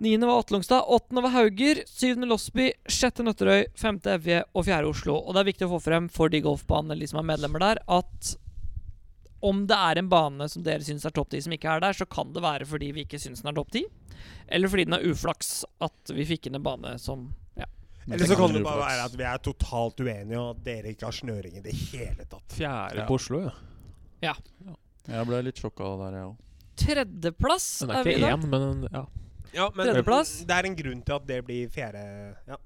S2: Niende var Atlungstad. Åttende var Hauger. Syvende Losby. Sjette Nøtterøy. Femte Evje. Og fjerde Oslo. Og det er viktig å få frem for de golfbanene de som er medlemmer der, at om det er en bane som dere syns er topp 10 som ikke er der, så kan det være fordi vi ikke syns den er topp 10. Eller fordi den er uflaks at vi fikk inn en bane som ja.
S3: Men
S1: Eller så kan
S3: tenker
S1: det
S3: du
S1: bare
S3: på
S1: være
S3: plass.
S1: at vi er totalt uenige, og at dere ikke har snøring i det hele tatt.
S4: Fjerde
S3: Ja.
S4: på Oslo, ja.
S3: Jeg ble litt sjokka der, jeg òg.
S2: Tredjeplass
S4: Den
S2: er
S4: er
S2: vi i
S4: ikke
S2: dag.
S4: én, men en- ja.
S1: Ja, men
S2: Tredjeplass.
S1: det er en grunn til at det blir fjerde ja.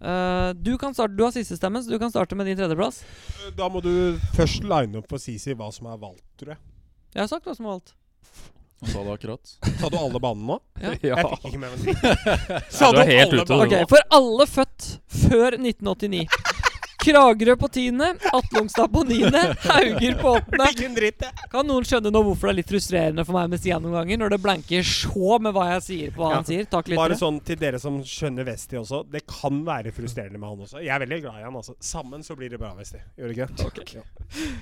S2: Eh, du, kan starte, du har sistestemmen, så du kan starte med din tredjeplass.
S1: Da må du først line opp for Sisi hva som er valgt, tror jeg.
S2: Jeg har sagt hva som er valgt.
S3: Han sa det akkurat.
S1: Sa du alle banene nå?
S4: ja.
S1: Jeg fikk ikke med meg en dritt.
S4: du er helt ute, du.
S2: Ok, For alle født før 1989. Kragerø på tiende, Atlungstad på niende, Hauger på åttende.
S1: Ikke en dritt, jeg.
S2: Kan noen skjønne nå hvorfor det er litt frustrerende for meg med Stian noen ganger, når det blanker så med hva jeg sier på hva
S1: Ja.
S2: han sier? Takk
S1: Bare
S2: litt.
S1: sånn til dere som skjønner Vesti også. Det kan være frustrerende med han også. Jeg er veldig glad i han, altså. Sammen så blir det bra, Vesti. Gjør det ikke? Ja.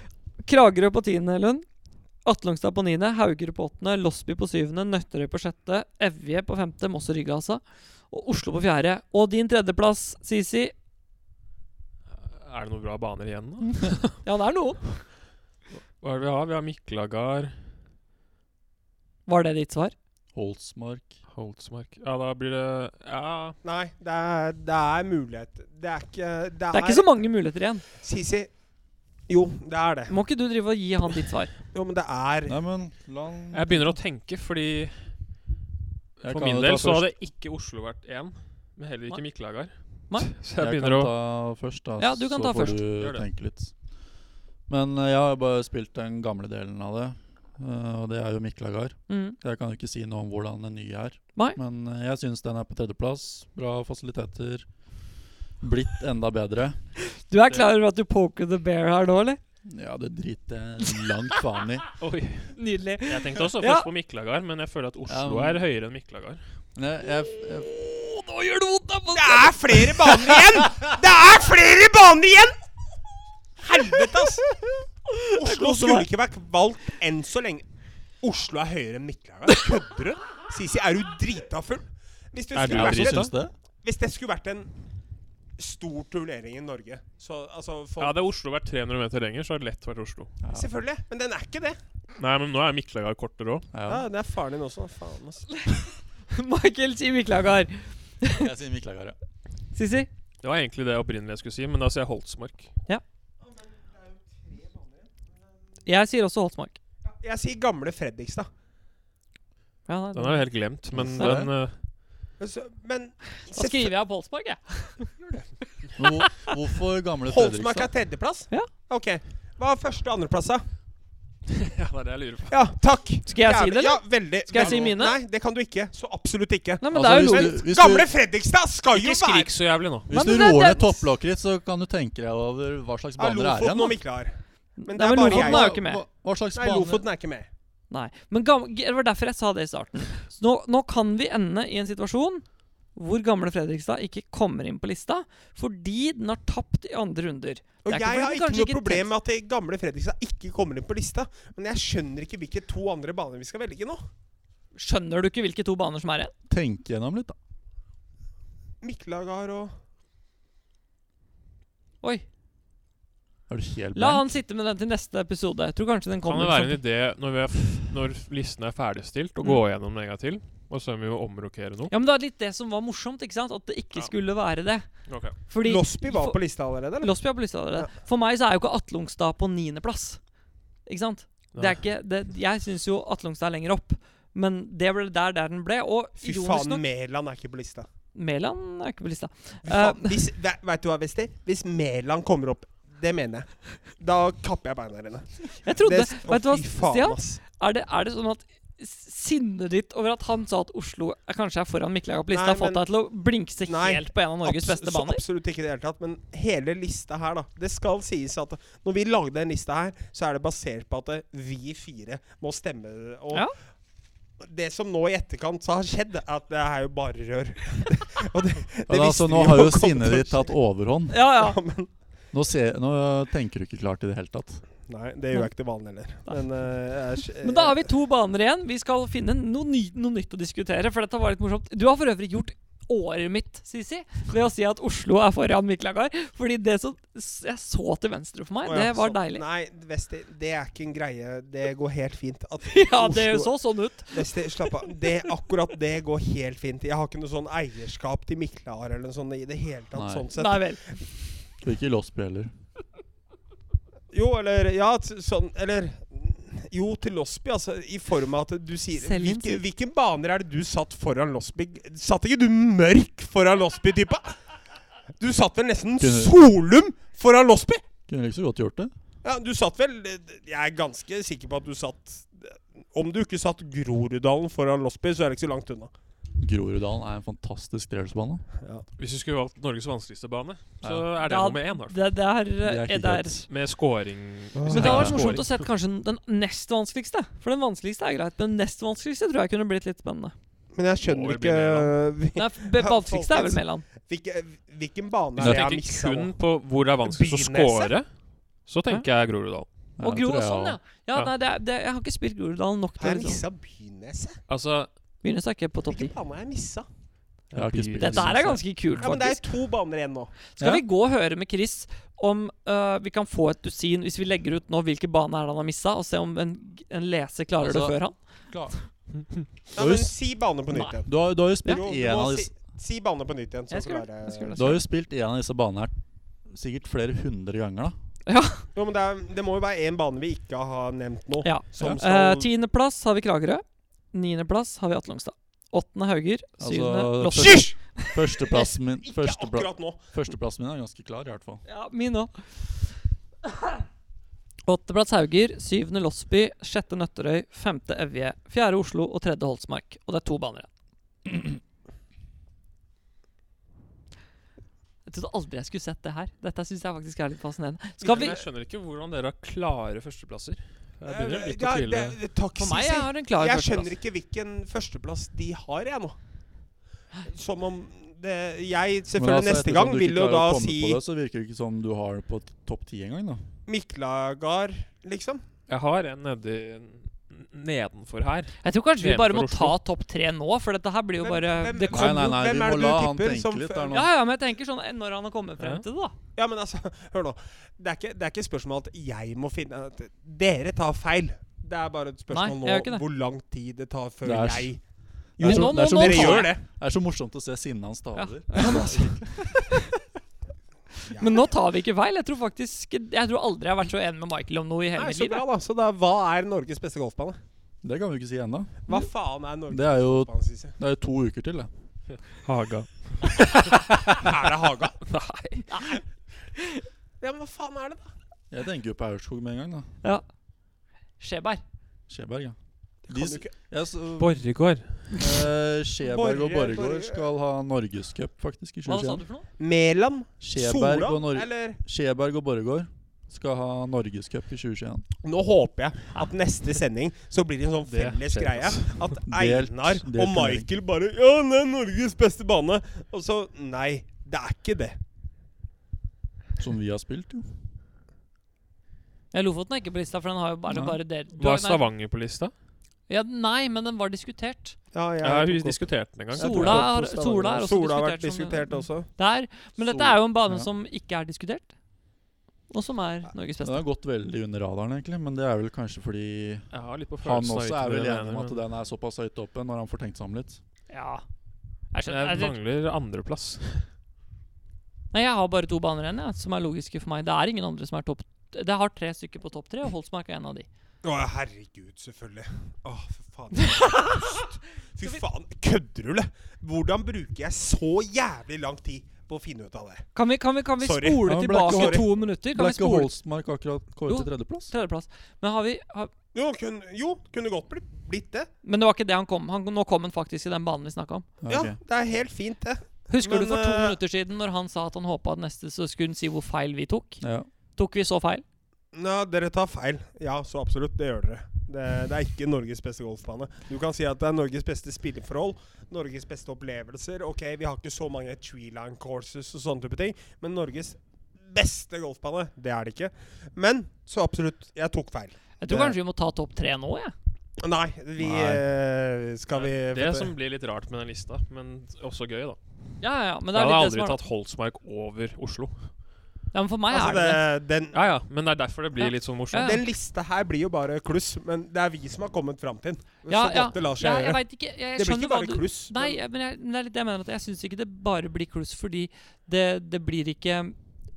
S2: Kragerø på tiende, Lund. Atlungstad på niende, Hauger på åttende, Losby på syvende, Nøtterøy på sjette, Evje på femte, Moss og Rygge, altså. Og Oslo på fjerde. Og din tredjeplass, Sisi.
S4: Er det noen bra baner igjen, da?
S2: Ja, det er noen.
S4: Hva er det vi har? Vi har Miklagard,
S2: Var det ditt svar?
S3: Holsmark.
S4: Holtsmark Ja, da blir det Ja.
S1: Nei, det er, det er mulighet. Det er ikke Det er,
S2: Det er ikke så mange muligheter igjen.
S1: Sisi. Jo, det er det.
S2: Må ikke du drive og gi han ditt svar?
S1: Jo, men det er
S3: Nei, men la han-
S4: Jeg begynner å tenke, fordi
S3: Jeg
S4: for
S3: kan
S4: min
S3: jo
S4: del
S3: ta
S4: så
S3: først.
S4: hadde ikke Oslo vært én. Men heller ikke Miklagard.
S2: Nei.
S4: Så jeg
S3: kan
S4: begynner å
S3: ta først, da.
S2: Ja, du kan
S3: så
S2: ta
S3: får
S2: først.
S3: du
S4: Gjør det.
S3: tenke litt. Men eh, jeg har bare spilt den gamle delen av det. eh, og det er jo Miklagard.
S2: Mm.
S3: Jeg kan jo ikke si noe om hvordan den nye er,
S2: Nei.
S3: men eh, jeg syns den er på tredjeplass. Bra fasiliteter. Blitt enda bedre.
S2: Du er klar over at du poker the bear her nå, eller?
S3: Ja, det driter jeg langt faen i.
S4: Oi.
S2: Nydelig.
S4: Jeg tenkte også
S2: Ja.
S4: først på Miklagard, men jeg føler at Oslo
S3: Ja, men-
S4: er høyere enn Miklagard.
S3: Men Jeg, jeg, jeg,
S2: nå gjør det vondt!
S1: Det er flere baner igjen! Det er flere baner igjen! Helvete, ass! Oslo skulle ikke vært valgt enn så lenge. Oslo er høyere enn Miklagard. Kødder du? Sisi, er du drita full? Hvis det
S4: Er du
S1: skulle vært
S4: drita?
S1: en-
S3: syns det.
S1: hvis det skulle vært en stor turnering i Norge så, altså, folk-
S4: Ja, Hadde Oslo vært 300 meter lenger, så hadde det lett vært Oslo.
S1: Selvfølgelig. Men den er ikke det.
S4: Nei, men nå er Miklagard kortere òg.
S3: Ja,
S1: den er faren din også. Faen, ass.
S2: Michael, si Miklagard.
S3: jeg sier Miklagard, ja.
S2: Sissi?
S4: Det var egentlig det jeg opprinnelig skulle si, men da sier jeg Holtsmark.
S2: Jeg sier også Holtsmark.
S1: Jeg sier gamle Fredrikstad.
S2: Ja, nei,
S4: Den er jo helt glemt, men
S3: Ja.
S4: den eh,
S1: Altså, Men
S2: Da skriver jeg på Holtsmark, jeg.
S3: Men hvor, hvorfor gamle
S1: Holtsmark er
S3: Fredrikstad?
S1: tredjeplass?
S2: Ja.
S1: Ok. Hva er første- og andreplass, da?
S4: Ja, det er det jeg lurer på.
S1: Ja, takk.
S2: Skal jeg si
S1: Jævlig-
S2: det,
S1: Ja,
S2: eller?
S1: veldig.
S2: Skal jeg
S1: veldig.
S2: si mine?
S1: Nei, det kan du ikke. Så absolutt ikke.
S2: Nei, men det
S3: Altså,
S2: er jo
S3: hvis
S1: Men
S2: logisk.
S3: du- hvis
S1: gamle Fredrikstad skal jo
S4: Ikke
S1: være
S4: skrik så jævlig nå.
S3: Hvis
S2: Nei,
S3: du
S2: men det-
S3: roer ned
S2: det-
S3: topplokket ditt, så kan du tenke deg over hva slags
S1: Ja,
S3: baner det er
S1: Lofoten og
S3: igjen.
S1: Miklar. Men det
S2: Nei,
S1: er
S2: men
S1: bare
S2: Lofoten
S1: jeg.
S2: er
S3: da.
S2: jo ikke med.
S3: Hva, hva slags
S1: Nei,
S3: bane
S1: Lofoten er ikke med.
S2: Nei. Men gam- det var derfor jeg sa det i starten. Så nå, nå kan vi ende i en situasjon hvor gamle Fredrikstad ikke kommer inn på lista fordi den har tapt i andre runder.
S1: Og
S2: Det
S1: jeg
S2: er ikke fordi
S1: har
S2: den
S1: ikke
S2: kanskje
S1: noe problem
S2: tenkt-
S1: med at det gamle Fredrikstad ikke kommer inn på lista, men jeg skjønner ikke hvilke to andre baner vi skal velge nå.
S2: Skjønner du ikke hvilke to baner som er igjen?
S3: Tenk gjennom litt, da.
S1: Miklagard og
S2: Oi.
S3: Er du helt
S2: La
S3: blank?
S2: han sitte med den til neste episode. Jeg tror kanskje den
S4: Kan
S2: kommer. liksom
S4: det
S2: som-
S4: være en idé når, vi er f når listen er ferdigstilt, å gå gjennom den en gang til? Og så må vi jo omrokere noe.
S2: Ja, men det er litt det som var morsomt, ikke sant? At det ikke
S4: Ja.
S2: skulle være det.
S4: Ok.
S2: Fordi
S1: Losby var
S2: for-
S1: på lista allerede, eller?
S2: Losby har på lista allerede. For meg så er jo ikke Atle Ongstad på niendeplass. Ikke sant? Det er ikke, det, jeg syns jo Atle Ongstad er lenger opp, men det ble der der den ble. Og
S1: Fy
S2: ironisk
S1: faen,
S2: nok
S1: Mæland er ikke på lista.
S2: Mæland er ikke på lista.
S1: Fy faen, hvis, ve- vet du hva, Westi? Hvis Mæland kommer opp, det mener jeg, da kapper jeg beina dine.
S2: Jeg trodde
S1: Det s- å,
S2: Vet du hva,
S1: fy faen,
S2: Stian?
S1: ass.
S2: Er det, er det sånn at s- sinnet ditt over at han sa at Oslo er kanskje er foran Mikkelager på lista,
S1: Nei,
S2: har
S1: men-
S2: fått deg til å blinkse
S1: Nei,
S2: helt på en av Norges
S1: Abs- så
S2: beste baner?
S1: Absolutt ikke i det hele tatt. Men hele lista her, da. Det skal sies at når vi lagde den lista her, så er det basert på at eh, vi fire må stemme. Og
S2: Ja.
S1: det som nå i etterkant så har skjedd, er at det er jo bare rør. og det, det
S3: Ja, da,
S1: visste
S3: så
S1: vi
S3: nå har jo
S1: kom til
S3: sinnet
S1: å
S3: ditt
S1: skje.
S3: tatt overhånd.
S2: Ja, ja.
S1: Ja, men
S3: Nå, ser, nå tenker du ikke klart i det hele tatt.
S1: Nei, det gjør jeg ikke til vanlig heller. Men, eh, jeg er-
S2: Men da har vi to baner igjen. Vi skal finne noe, ny, noe nytt å diskutere, for dette var litt morsomt. Du har for øvrig gjort året mitt, Sisi, ved å si at Oslo er foran Miklagard. Fordi det som s- jeg så til venstre for meg,
S1: Å ja,
S2: det var
S1: sånn.
S2: deilig.
S1: Nei, Vesti, det er ikke en greie. Det går helt fint. At
S2: Ja, det
S1: Oslo-
S2: så sånn ut.
S1: Vesti, slapp av. Det, akkurat det går helt fint. Jeg har ikke noe sånn eierskap til Miklahar eller noe sånt i det hele tatt.
S3: Nei.
S1: Sånn sett.
S2: Nei vel.
S3: Og ikke Losby heller.
S1: Jo, eller Ja, t- sånn Eller jo, til Losby, altså. I form av at du sier
S2: Selv i en
S1: hvilke,
S2: tid.
S1: Hvilken baner er det du satt foran Losby? Satt ikke du mørk foran Losby, typa? Du satt vel nesten
S3: Kunne-
S1: Solum foran Losby?
S3: Kunne like så godt gjort det.
S1: Ja, du satt vel Jeg er ganske sikker på at du satt Om du ikke satt Groruddalen foran Losby, så er det ikke så langt unna.
S3: Groruddalen er en fantastisk trehjulsbane.
S4: Hvis vi skulle valgt Norges vanskeligste bane, så er det
S2: Ja,
S4: nummer én. i hvert fall.
S2: Det, det er,
S3: Det er
S2: eh,
S3: ikke
S2: det er
S3: godt.
S4: Med scoring. hvis
S2: Men det
S4: det
S2: hadde
S4: er
S2: vært morsomt å
S4: scoring.
S2: se kanskje den nest vanskeligste. For den vanskeligste er greit, men den nest vanskeligste tror jeg kunne blitt litt spennende.
S1: Men jeg skjønner
S4: Må vel
S1: ikke
S2: Den er f- be-
S1: Ja,
S2: vanskeligste er
S1: folkens.
S2: vel Mæland.
S1: hvilke, Hvilken bane er
S4: Hvis jeg
S1: det jeg har
S4: tenker
S1: mista?
S4: kun på hvor det er vanskeligst å
S1: Byneset?
S4: score, så tenker jeg Groruddalen.
S2: Og
S3: Ja,
S2: Gro
S3: tror
S2: og
S3: jeg
S2: sånn, ja.
S3: også.
S2: Ja,
S4: Ja.
S2: nei, det er, det, Jeg har ikke spilt Groruddalen nok
S1: Har jeg
S2: til å liksom-
S1: missa Byneset?
S4: Altså
S2: Begynner å snakke på topp ti.
S1: Hvilken bane har jeg missa?
S3: Jeg har ikke spilt
S2: Dette her
S3: synes
S2: er
S3: jeg.
S2: ganske kult,
S1: Ja, men det er
S2: faktisk.
S1: jo to baner igjen nå.
S2: Skal
S3: Ja.
S2: vi gå og høre med Chris om øh, vi kan få et dusin hvis vi legger ut nå hvilke baner han har missa, og se om en, en leser klarer
S3: Altså,
S2: det før han?
S1: Nei, men si bane på nytt
S2: Nei.
S1: igjen.
S3: Du har, du har jo spilt
S1: Jo, du
S3: en
S1: må
S3: av
S1: si,
S3: disse
S1: si bane på nytt igjen. Så
S2: Jeg skal gjøre det.
S1: klarer
S2: Jeg skal gjøre
S1: jeg
S2: det.
S3: Du har jo spilt en av disse banene her sikkert flere hundre ganger, da.
S1: Jo, men det, er, det må jo være én bane vi ikke har nevnt nå.
S2: Ja.
S1: Som
S3: Ja.
S2: Eh,
S1: skal
S2: Tiendeplass har vi Kragerø. Niendeplass har vi Atle Longstad. Åttende Hauger.
S3: Altså,
S2: Syvende Lotte.
S3: første-
S1: Hysj!
S3: Førsteplassen min,
S1: Ikke
S3: førstepla,
S1: akkurat nå.
S3: førsteplassen min er ganske klar, i hvert fall.
S2: Ja, min òg. Botteplass Hauger, syvende Losby, sjette Nøtterøy, femte Evje, fjerde Oslo og tredje Holsmark. Og det er to baner igjen. Jeg trodde aldri jeg skulle sett det her. Dette syns jeg faktisk er litt fascinerende. Skal vi
S4: Men Jeg skjønner ikke hvordan dere har klare førsteplasser. Jeg begynner litt å
S1: Eh, Ja,
S4: tvile.
S1: det- det- takk,
S2: For meg
S1: Sisi.
S2: er det en klar
S1: Jeg
S2: førsteplass.
S1: skjønner ikke hvilken førsteplass de har, jeg nå. Som om det Jeg,
S3: Men
S1: selvfølgelig,
S3: altså,
S1: neste
S3: ettersom
S1: gang
S3: du ikke
S1: vil jo
S3: klarer
S1: da
S3: å komme
S1: si
S3: på det, Så virker det ikke som du har det på t- topp ti engang, da.
S1: Miklagard, liksom.
S4: Jeg har en nedi n- nedenfor her.
S2: Jeg tror kanskje vi
S4: VM
S2: bare
S4: for
S2: må
S4: Oslo.
S2: ta topp tre nå, for dette her blir jo
S1: Hvem-
S2: bare
S1: hvem-
S2: det
S1: Nei,
S2: kom,
S3: Nei, nei, nei,
S1: hvem er det
S3: vi må
S1: du
S3: la han
S1: tipper
S3: tenke
S1: som
S3: litt
S1: fø-
S3: der nå.
S2: Ja, ja, men jeg tenker sånn eh, når han har kommet frem
S4: Ja.
S2: til det, da.
S1: Ja, men altså, hør nå. Det er ikke, det er ikke et spørsmål at jeg må finne at Dere tar feil. Det er bare et
S2: Nei,
S1: spørsmål
S2: jeg gjør ikke
S1: nå
S2: det.
S1: hvor lang tid det tar før
S3: Det er s-
S1: jeg
S3: Det er
S2: Jo,
S3: så-
S2: nå-
S3: det er så
S2: nå- nå
S1: Dere
S2: tar
S1: gjør
S2: jeg.
S1: det.
S3: Det er så morsomt å se sinnet hans
S2: Ja.
S3: staver.
S1: Ja.
S2: Men nå tar vi ikke feil. Jeg tror faktisk Jeg tror aldri jeg har vært så enig med Michael om noe i hele
S1: Nei,
S2: mitt
S1: så
S2: liv.
S1: bra,
S2: jeg.
S1: da. Så da, hva er Norges beste golfbane?
S3: Det kan vi ikke si ennå.
S2: Mm.
S1: Hva faen er Norges
S3: Det er jo
S1: golfbane, Sisi?
S3: det er jo to uker til, det.
S4: Haga.
S1: Er det Haga?
S4: Nei.
S1: Ja, men hva faen er det, da?
S3: Jeg tenker jo på Aurskog med en gang, da.
S2: Ja. Skjeberg.
S3: Skjeberg, ja.
S1: Det
S3: De
S1: kan
S3: s-
S1: jo ikke
S3: Jeg så-
S4: Borregaard.
S3: eh, Skjeberg og
S1: Borre- Borre-
S3: Borregaard skal ha norgescup, faktisk, i
S2: Hva sa du
S3: 2021.
S2: for noe?
S1: Mæland?
S3: Skjeberg og,
S1: Sola?
S3: Nor
S1: Eller
S3: Skjeberg og Borregaard skal ha norgescup i 2021.
S1: Nå håper jeg at neste sending så blir det en sånn
S4: Det
S1: felles
S4: skjer,
S1: greie. At
S3: Delt-
S1: Einar
S3: delt
S1: og Michael bare Ja, det er Norges beste bane. Og så Nei, det er ikke det.
S3: Som vi har spilt, jo.
S2: Ja, Lofoten er ikke på lista, for den har jo bare,
S3: Nei.
S2: bare dere. du har-
S4: Var Stavanger på lista?
S2: Nei, ja, nei, men den var diskutert.
S1: Ja,
S4: Jeg har diskutert den en gang.
S3: Jeg
S2: Sola, har, Sola er også
S1: Sola har vært
S2: diskutert. som-
S1: diskutert også.
S2: Der. Men dette
S3: Sola,
S2: er jo en bane
S3: ja.
S2: som ikke er diskutert, og som er Norges
S3: Den
S2: beste.
S3: har gått veldig under radaren, egentlig. Men det er vel kanskje fordi
S4: Jeg har litt på
S3: han
S4: følelsen av
S3: også
S4: hvilken
S3: er vel
S4: dere
S3: enig om
S4: mener,
S3: at
S4: men-
S3: den er såpass høyt oppe når han får tenkt seg om litt.
S2: Ja. Jeg, skjønner,
S4: Jeg
S2: jeg,
S4: mangler andreplass.
S2: nei, jeg har bare to baner igjen, jeg, som er logiske for meg. Det er ingen andre som er topp Det har tre stykker på topp tre, og Holsmark er en av de.
S1: Å, herregud, selvfølgelig. Å, for faen. jeg er dust. Fy faen, kødder du, eller? Hvordan bruker jeg så jævlig lang tid på å finne ut av det?
S2: Kan vi, kan vi, kan vi
S1: Sorry.
S2: spole
S3: Ja, men Black
S2: tilbake
S1: Sorry.
S2: to minutter? Kan
S3: Ble
S2: vi
S3: ikke
S2: spole
S3: Holstmark akkurat kåret
S2: Jo.
S3: til tredjeplass?
S2: tredjeplass? Men har vi har,
S1: Jo, kun, jo kunne godt blitt, blitt det.
S2: Men det var ikke det han kom. Han, nå kom han faktisk i den banen vi snakka om.
S1: Ja,
S3: ok.
S1: det er helt fint, det.
S2: Husker
S1: Men,
S2: du for to
S1: eh,
S2: minutter siden når han sa at han håpa at neste så skulle han si hvor feil vi tok?
S3: ja.
S2: Tok vi så feil?
S1: Ja, dere tar feil. Ja, så absolutt. Det gjør dere. Det, det er ikke Norges beste golfbane. Du kan si at det er Norges beste spilleforhold, Norges beste opplevelser. Ok, vi har ikke så mange tree-line courses og sånne type ting, men Norges beste golfbane, det er det ikke. Men så absolutt, jeg tok feil.
S2: Jeg tror
S1: Det-
S2: kanskje vi må ta topp tre nå, jeg.
S1: Nei, vi
S3: Nei.
S1: eh, Skal vi
S4: Det som blir litt rart med den lista, men også gøy, da.
S2: Ja, ja, ja, men det er litt
S4: Jeg hadde
S2: det
S4: aldri
S2: som er
S4: tatt Holsmark over Oslo.
S2: Ja, men for meg
S1: altså,
S2: er det det.
S1: det, den,
S4: Ja, ja, men det er derfor
S2: Ja.
S4: det blir litt sånn
S2: Ja, ja.
S4: morsomt.
S1: den lista her blir jo bare kluss, men det er vi som har kommet fram til den.
S2: Ja,
S1: så
S2: ja.
S1: godt det lar
S2: ja,
S1: seg
S2: jeg
S1: gjøre.
S2: veit ikke. Jeg, jeg
S1: Det blir
S2: skjønner
S1: ikke
S2: hva
S1: bare
S2: du
S1: kluss.
S2: Nei, jeg, men jeg, men det er litt det jeg mener. At jeg syns ikke det bare blir kluss, fordi det, det blir ikke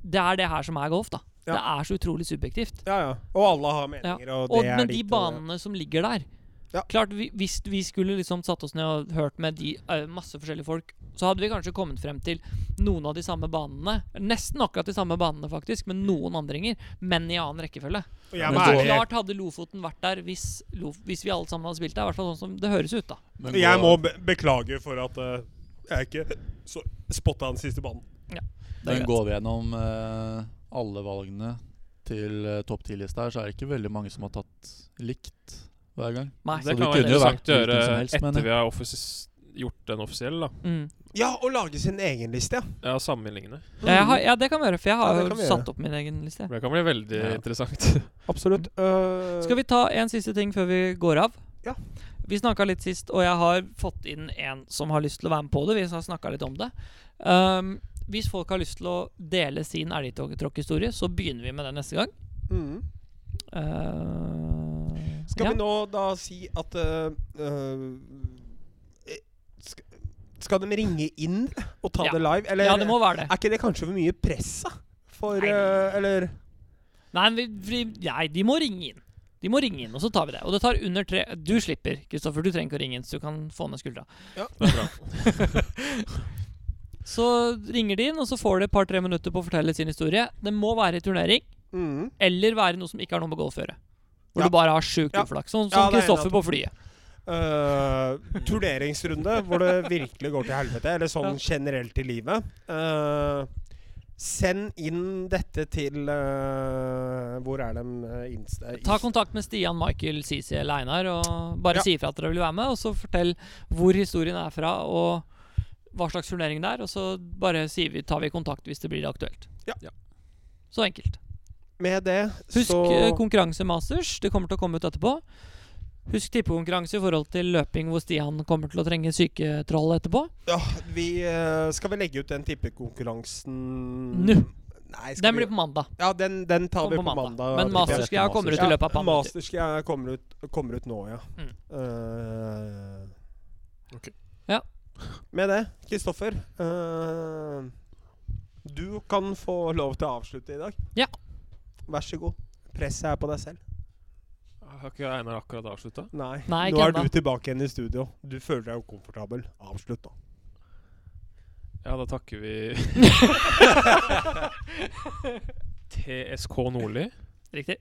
S2: Det er det her som er golf, da.
S1: Ja.
S2: Det er så utrolig subjektivt.
S1: Ja, ja. Og alle har meninger, og det
S2: Og,
S1: er eh,
S2: men de
S1: ditt, og det-
S2: banene som ligger der
S1: Ja.
S2: Klart, vi, Hvis vi skulle liksom satt oss ned og hørt med de, eh, masse forskjellige folk, så hadde vi kanskje kommet frem til noen av de samme banene. Nesten akkurat de samme banene, faktisk, men noen andringer. Men i annen rekkefølge.
S1: Og jeg
S3: Men
S1: må
S3: så-
S1: ærlig-
S2: Klart hadde Lofoten vært der hvis, Lof hvis vi alle sammen hadde spilt der. I hvert fall sånn som det høres ut, da.
S3: Men
S1: Jeg
S3: går-
S1: må be beklage for at eh, jeg ikke så- spotta den siste banen.
S2: Det er
S3: Men
S2: greit.
S3: går vi gjennom eh, alle valgene til eh, topp ti-lista her, så er det ikke veldig mange som har tatt likt hver gang.
S2: Nei.
S4: Det
S3: Så
S4: kan
S3: det
S4: være
S3: kunne jo
S4: interessant å
S3: vært
S4: gjøre
S3: hvilken som helst, eh, mener
S4: etter
S3: jeg.
S4: vi har offis- gjort den offisiell, da.
S2: Mm.
S1: Ja, å lage sin egen liste, ja.
S4: Ja, sammenlignende.
S2: Ja, jeg har, ja, det kan vi gjøre, for jeg har
S1: Ja, det
S2: jo
S1: kan vi
S2: satt
S1: gjøre.
S2: opp min egen liste.
S4: Det kan bli veldig
S3: Ja.
S4: interessant.
S1: Absolutt. eh,
S2: Skal vi ta en siste ting før vi går av?
S1: Ja.
S2: Vi snakka litt sist, og jeg har fått inn en som har lyst til å være med på det. Vi har snakket litt om det. Um, hvis folk har lyst til å dele sin elgtråkkhistorie, så begynner vi med det neste gang. Uh,
S1: mm. Skal
S2: ja.
S1: vi nå da si at eh, eh, sk Skal de ringe inn og ta
S2: Ja.
S1: det live? Eller
S2: ja, det må være det.
S1: er ikke det kanskje for mye press, da? For
S2: Nei.
S1: eh, Eller
S2: Nei, vi, vi, nei, de må ringe inn. De må ringe inn, og så tar vi det. Og det tar under tre Du slipper, Kristoffer. Du trenger ikke å ringe inn, så du kan få ned skuldra.
S4: Det er bra.
S2: Så ringer de inn, og så får de et par-tre minutter på å fortelle sin historie. Det må være i turnering.
S1: Mm.
S2: Eller være noe som ikke har noe med golf å gjøre. Hvor
S1: Ja.
S2: du bare har sjukt
S1: Ja.
S2: uflaks.
S1: Ja,
S2: Sånn som
S1: det er jeg
S2: Kristoffer
S1: enig
S2: på flyet.
S1: Eh, turneringsrunde hvor det virkelig går til helvete, eller sånn
S2: Ja.
S1: generelt i livet. Eh, send inn dette til eh, Hvor er de eh, insta...
S2: Ta kontakt med Stian, Michael, Sisi eller Einar og bare
S1: Ja.
S2: si ifra at dere vil være med. Og så fortell hvor historien er fra, og hva slags turnering det er. Og så bare sier vi, tar vi kontakt hvis det blir aktuelt.
S1: Ja.
S3: Ja.
S2: Så enkelt.
S1: Med det,
S2: Husk
S1: så
S2: eh, konkurranse Masters. Det kommer til å komme ut etterpå. Husk tippekonkurranse i forhold til løping hvor Stian kommer til å trenge syketroll etterpå.
S1: ja, vi, eh, Skal vi legge ut den tippekonkurransen
S2: Nå.
S1: Nei, Mm. skal
S2: Den
S1: vi
S2: blir på mandag.
S1: Ja, den, den tar vi
S2: Kommer
S1: på mandag. tipper
S2: Men
S1: jeg.
S2: Masters Greia kommer ut i
S1: Ja,
S2: løpet av et par måneder.
S1: Masters ja, kommer, ut, kommer ut nå, ja.
S2: Mm.
S1: Eh,
S4: Ok.
S2: Ja.
S1: Med det, Kristoffer. eh, du kan få lov til å avslutte i dag.
S2: Ja.
S1: Vær så god. Presset er på deg selv.
S4: Har ikke Einar akkurat avslutta?
S1: Nei,
S2: Nei,
S1: nå
S2: ikke
S1: er
S2: ennå.
S1: du tilbake igjen i studio. Du føler deg ukomfortabel. Avslutt, da.
S4: Ja, da takker vi TSK Nordli,
S2: Riktig.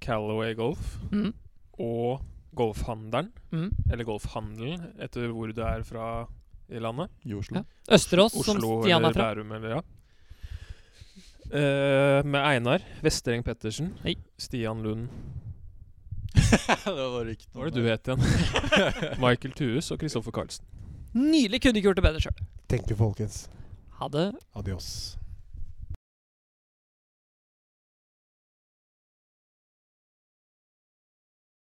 S4: Callaway Golf
S2: Mm.
S4: og Golfhandelen,
S2: Mm.
S4: eller Golfhandelen etter hvor du er fra i landet.
S3: i Oslo.
S2: Ja. Østerås, som
S4: Oslo
S2: Stian
S4: eller
S2: er fra.
S4: Bærum eller ja. Eh, med Einar Vestereng Pettersen.
S2: Hei.
S4: Stian Lund.
S3: det var riktig.
S4: Hva var det du het igjen? Michael Thues og Kristoffer Karlsen.
S2: Nydelig. Kunne ikke gjort det bedre sjøl.
S1: Thank you, folkens.
S2: Ha det.
S1: Adios.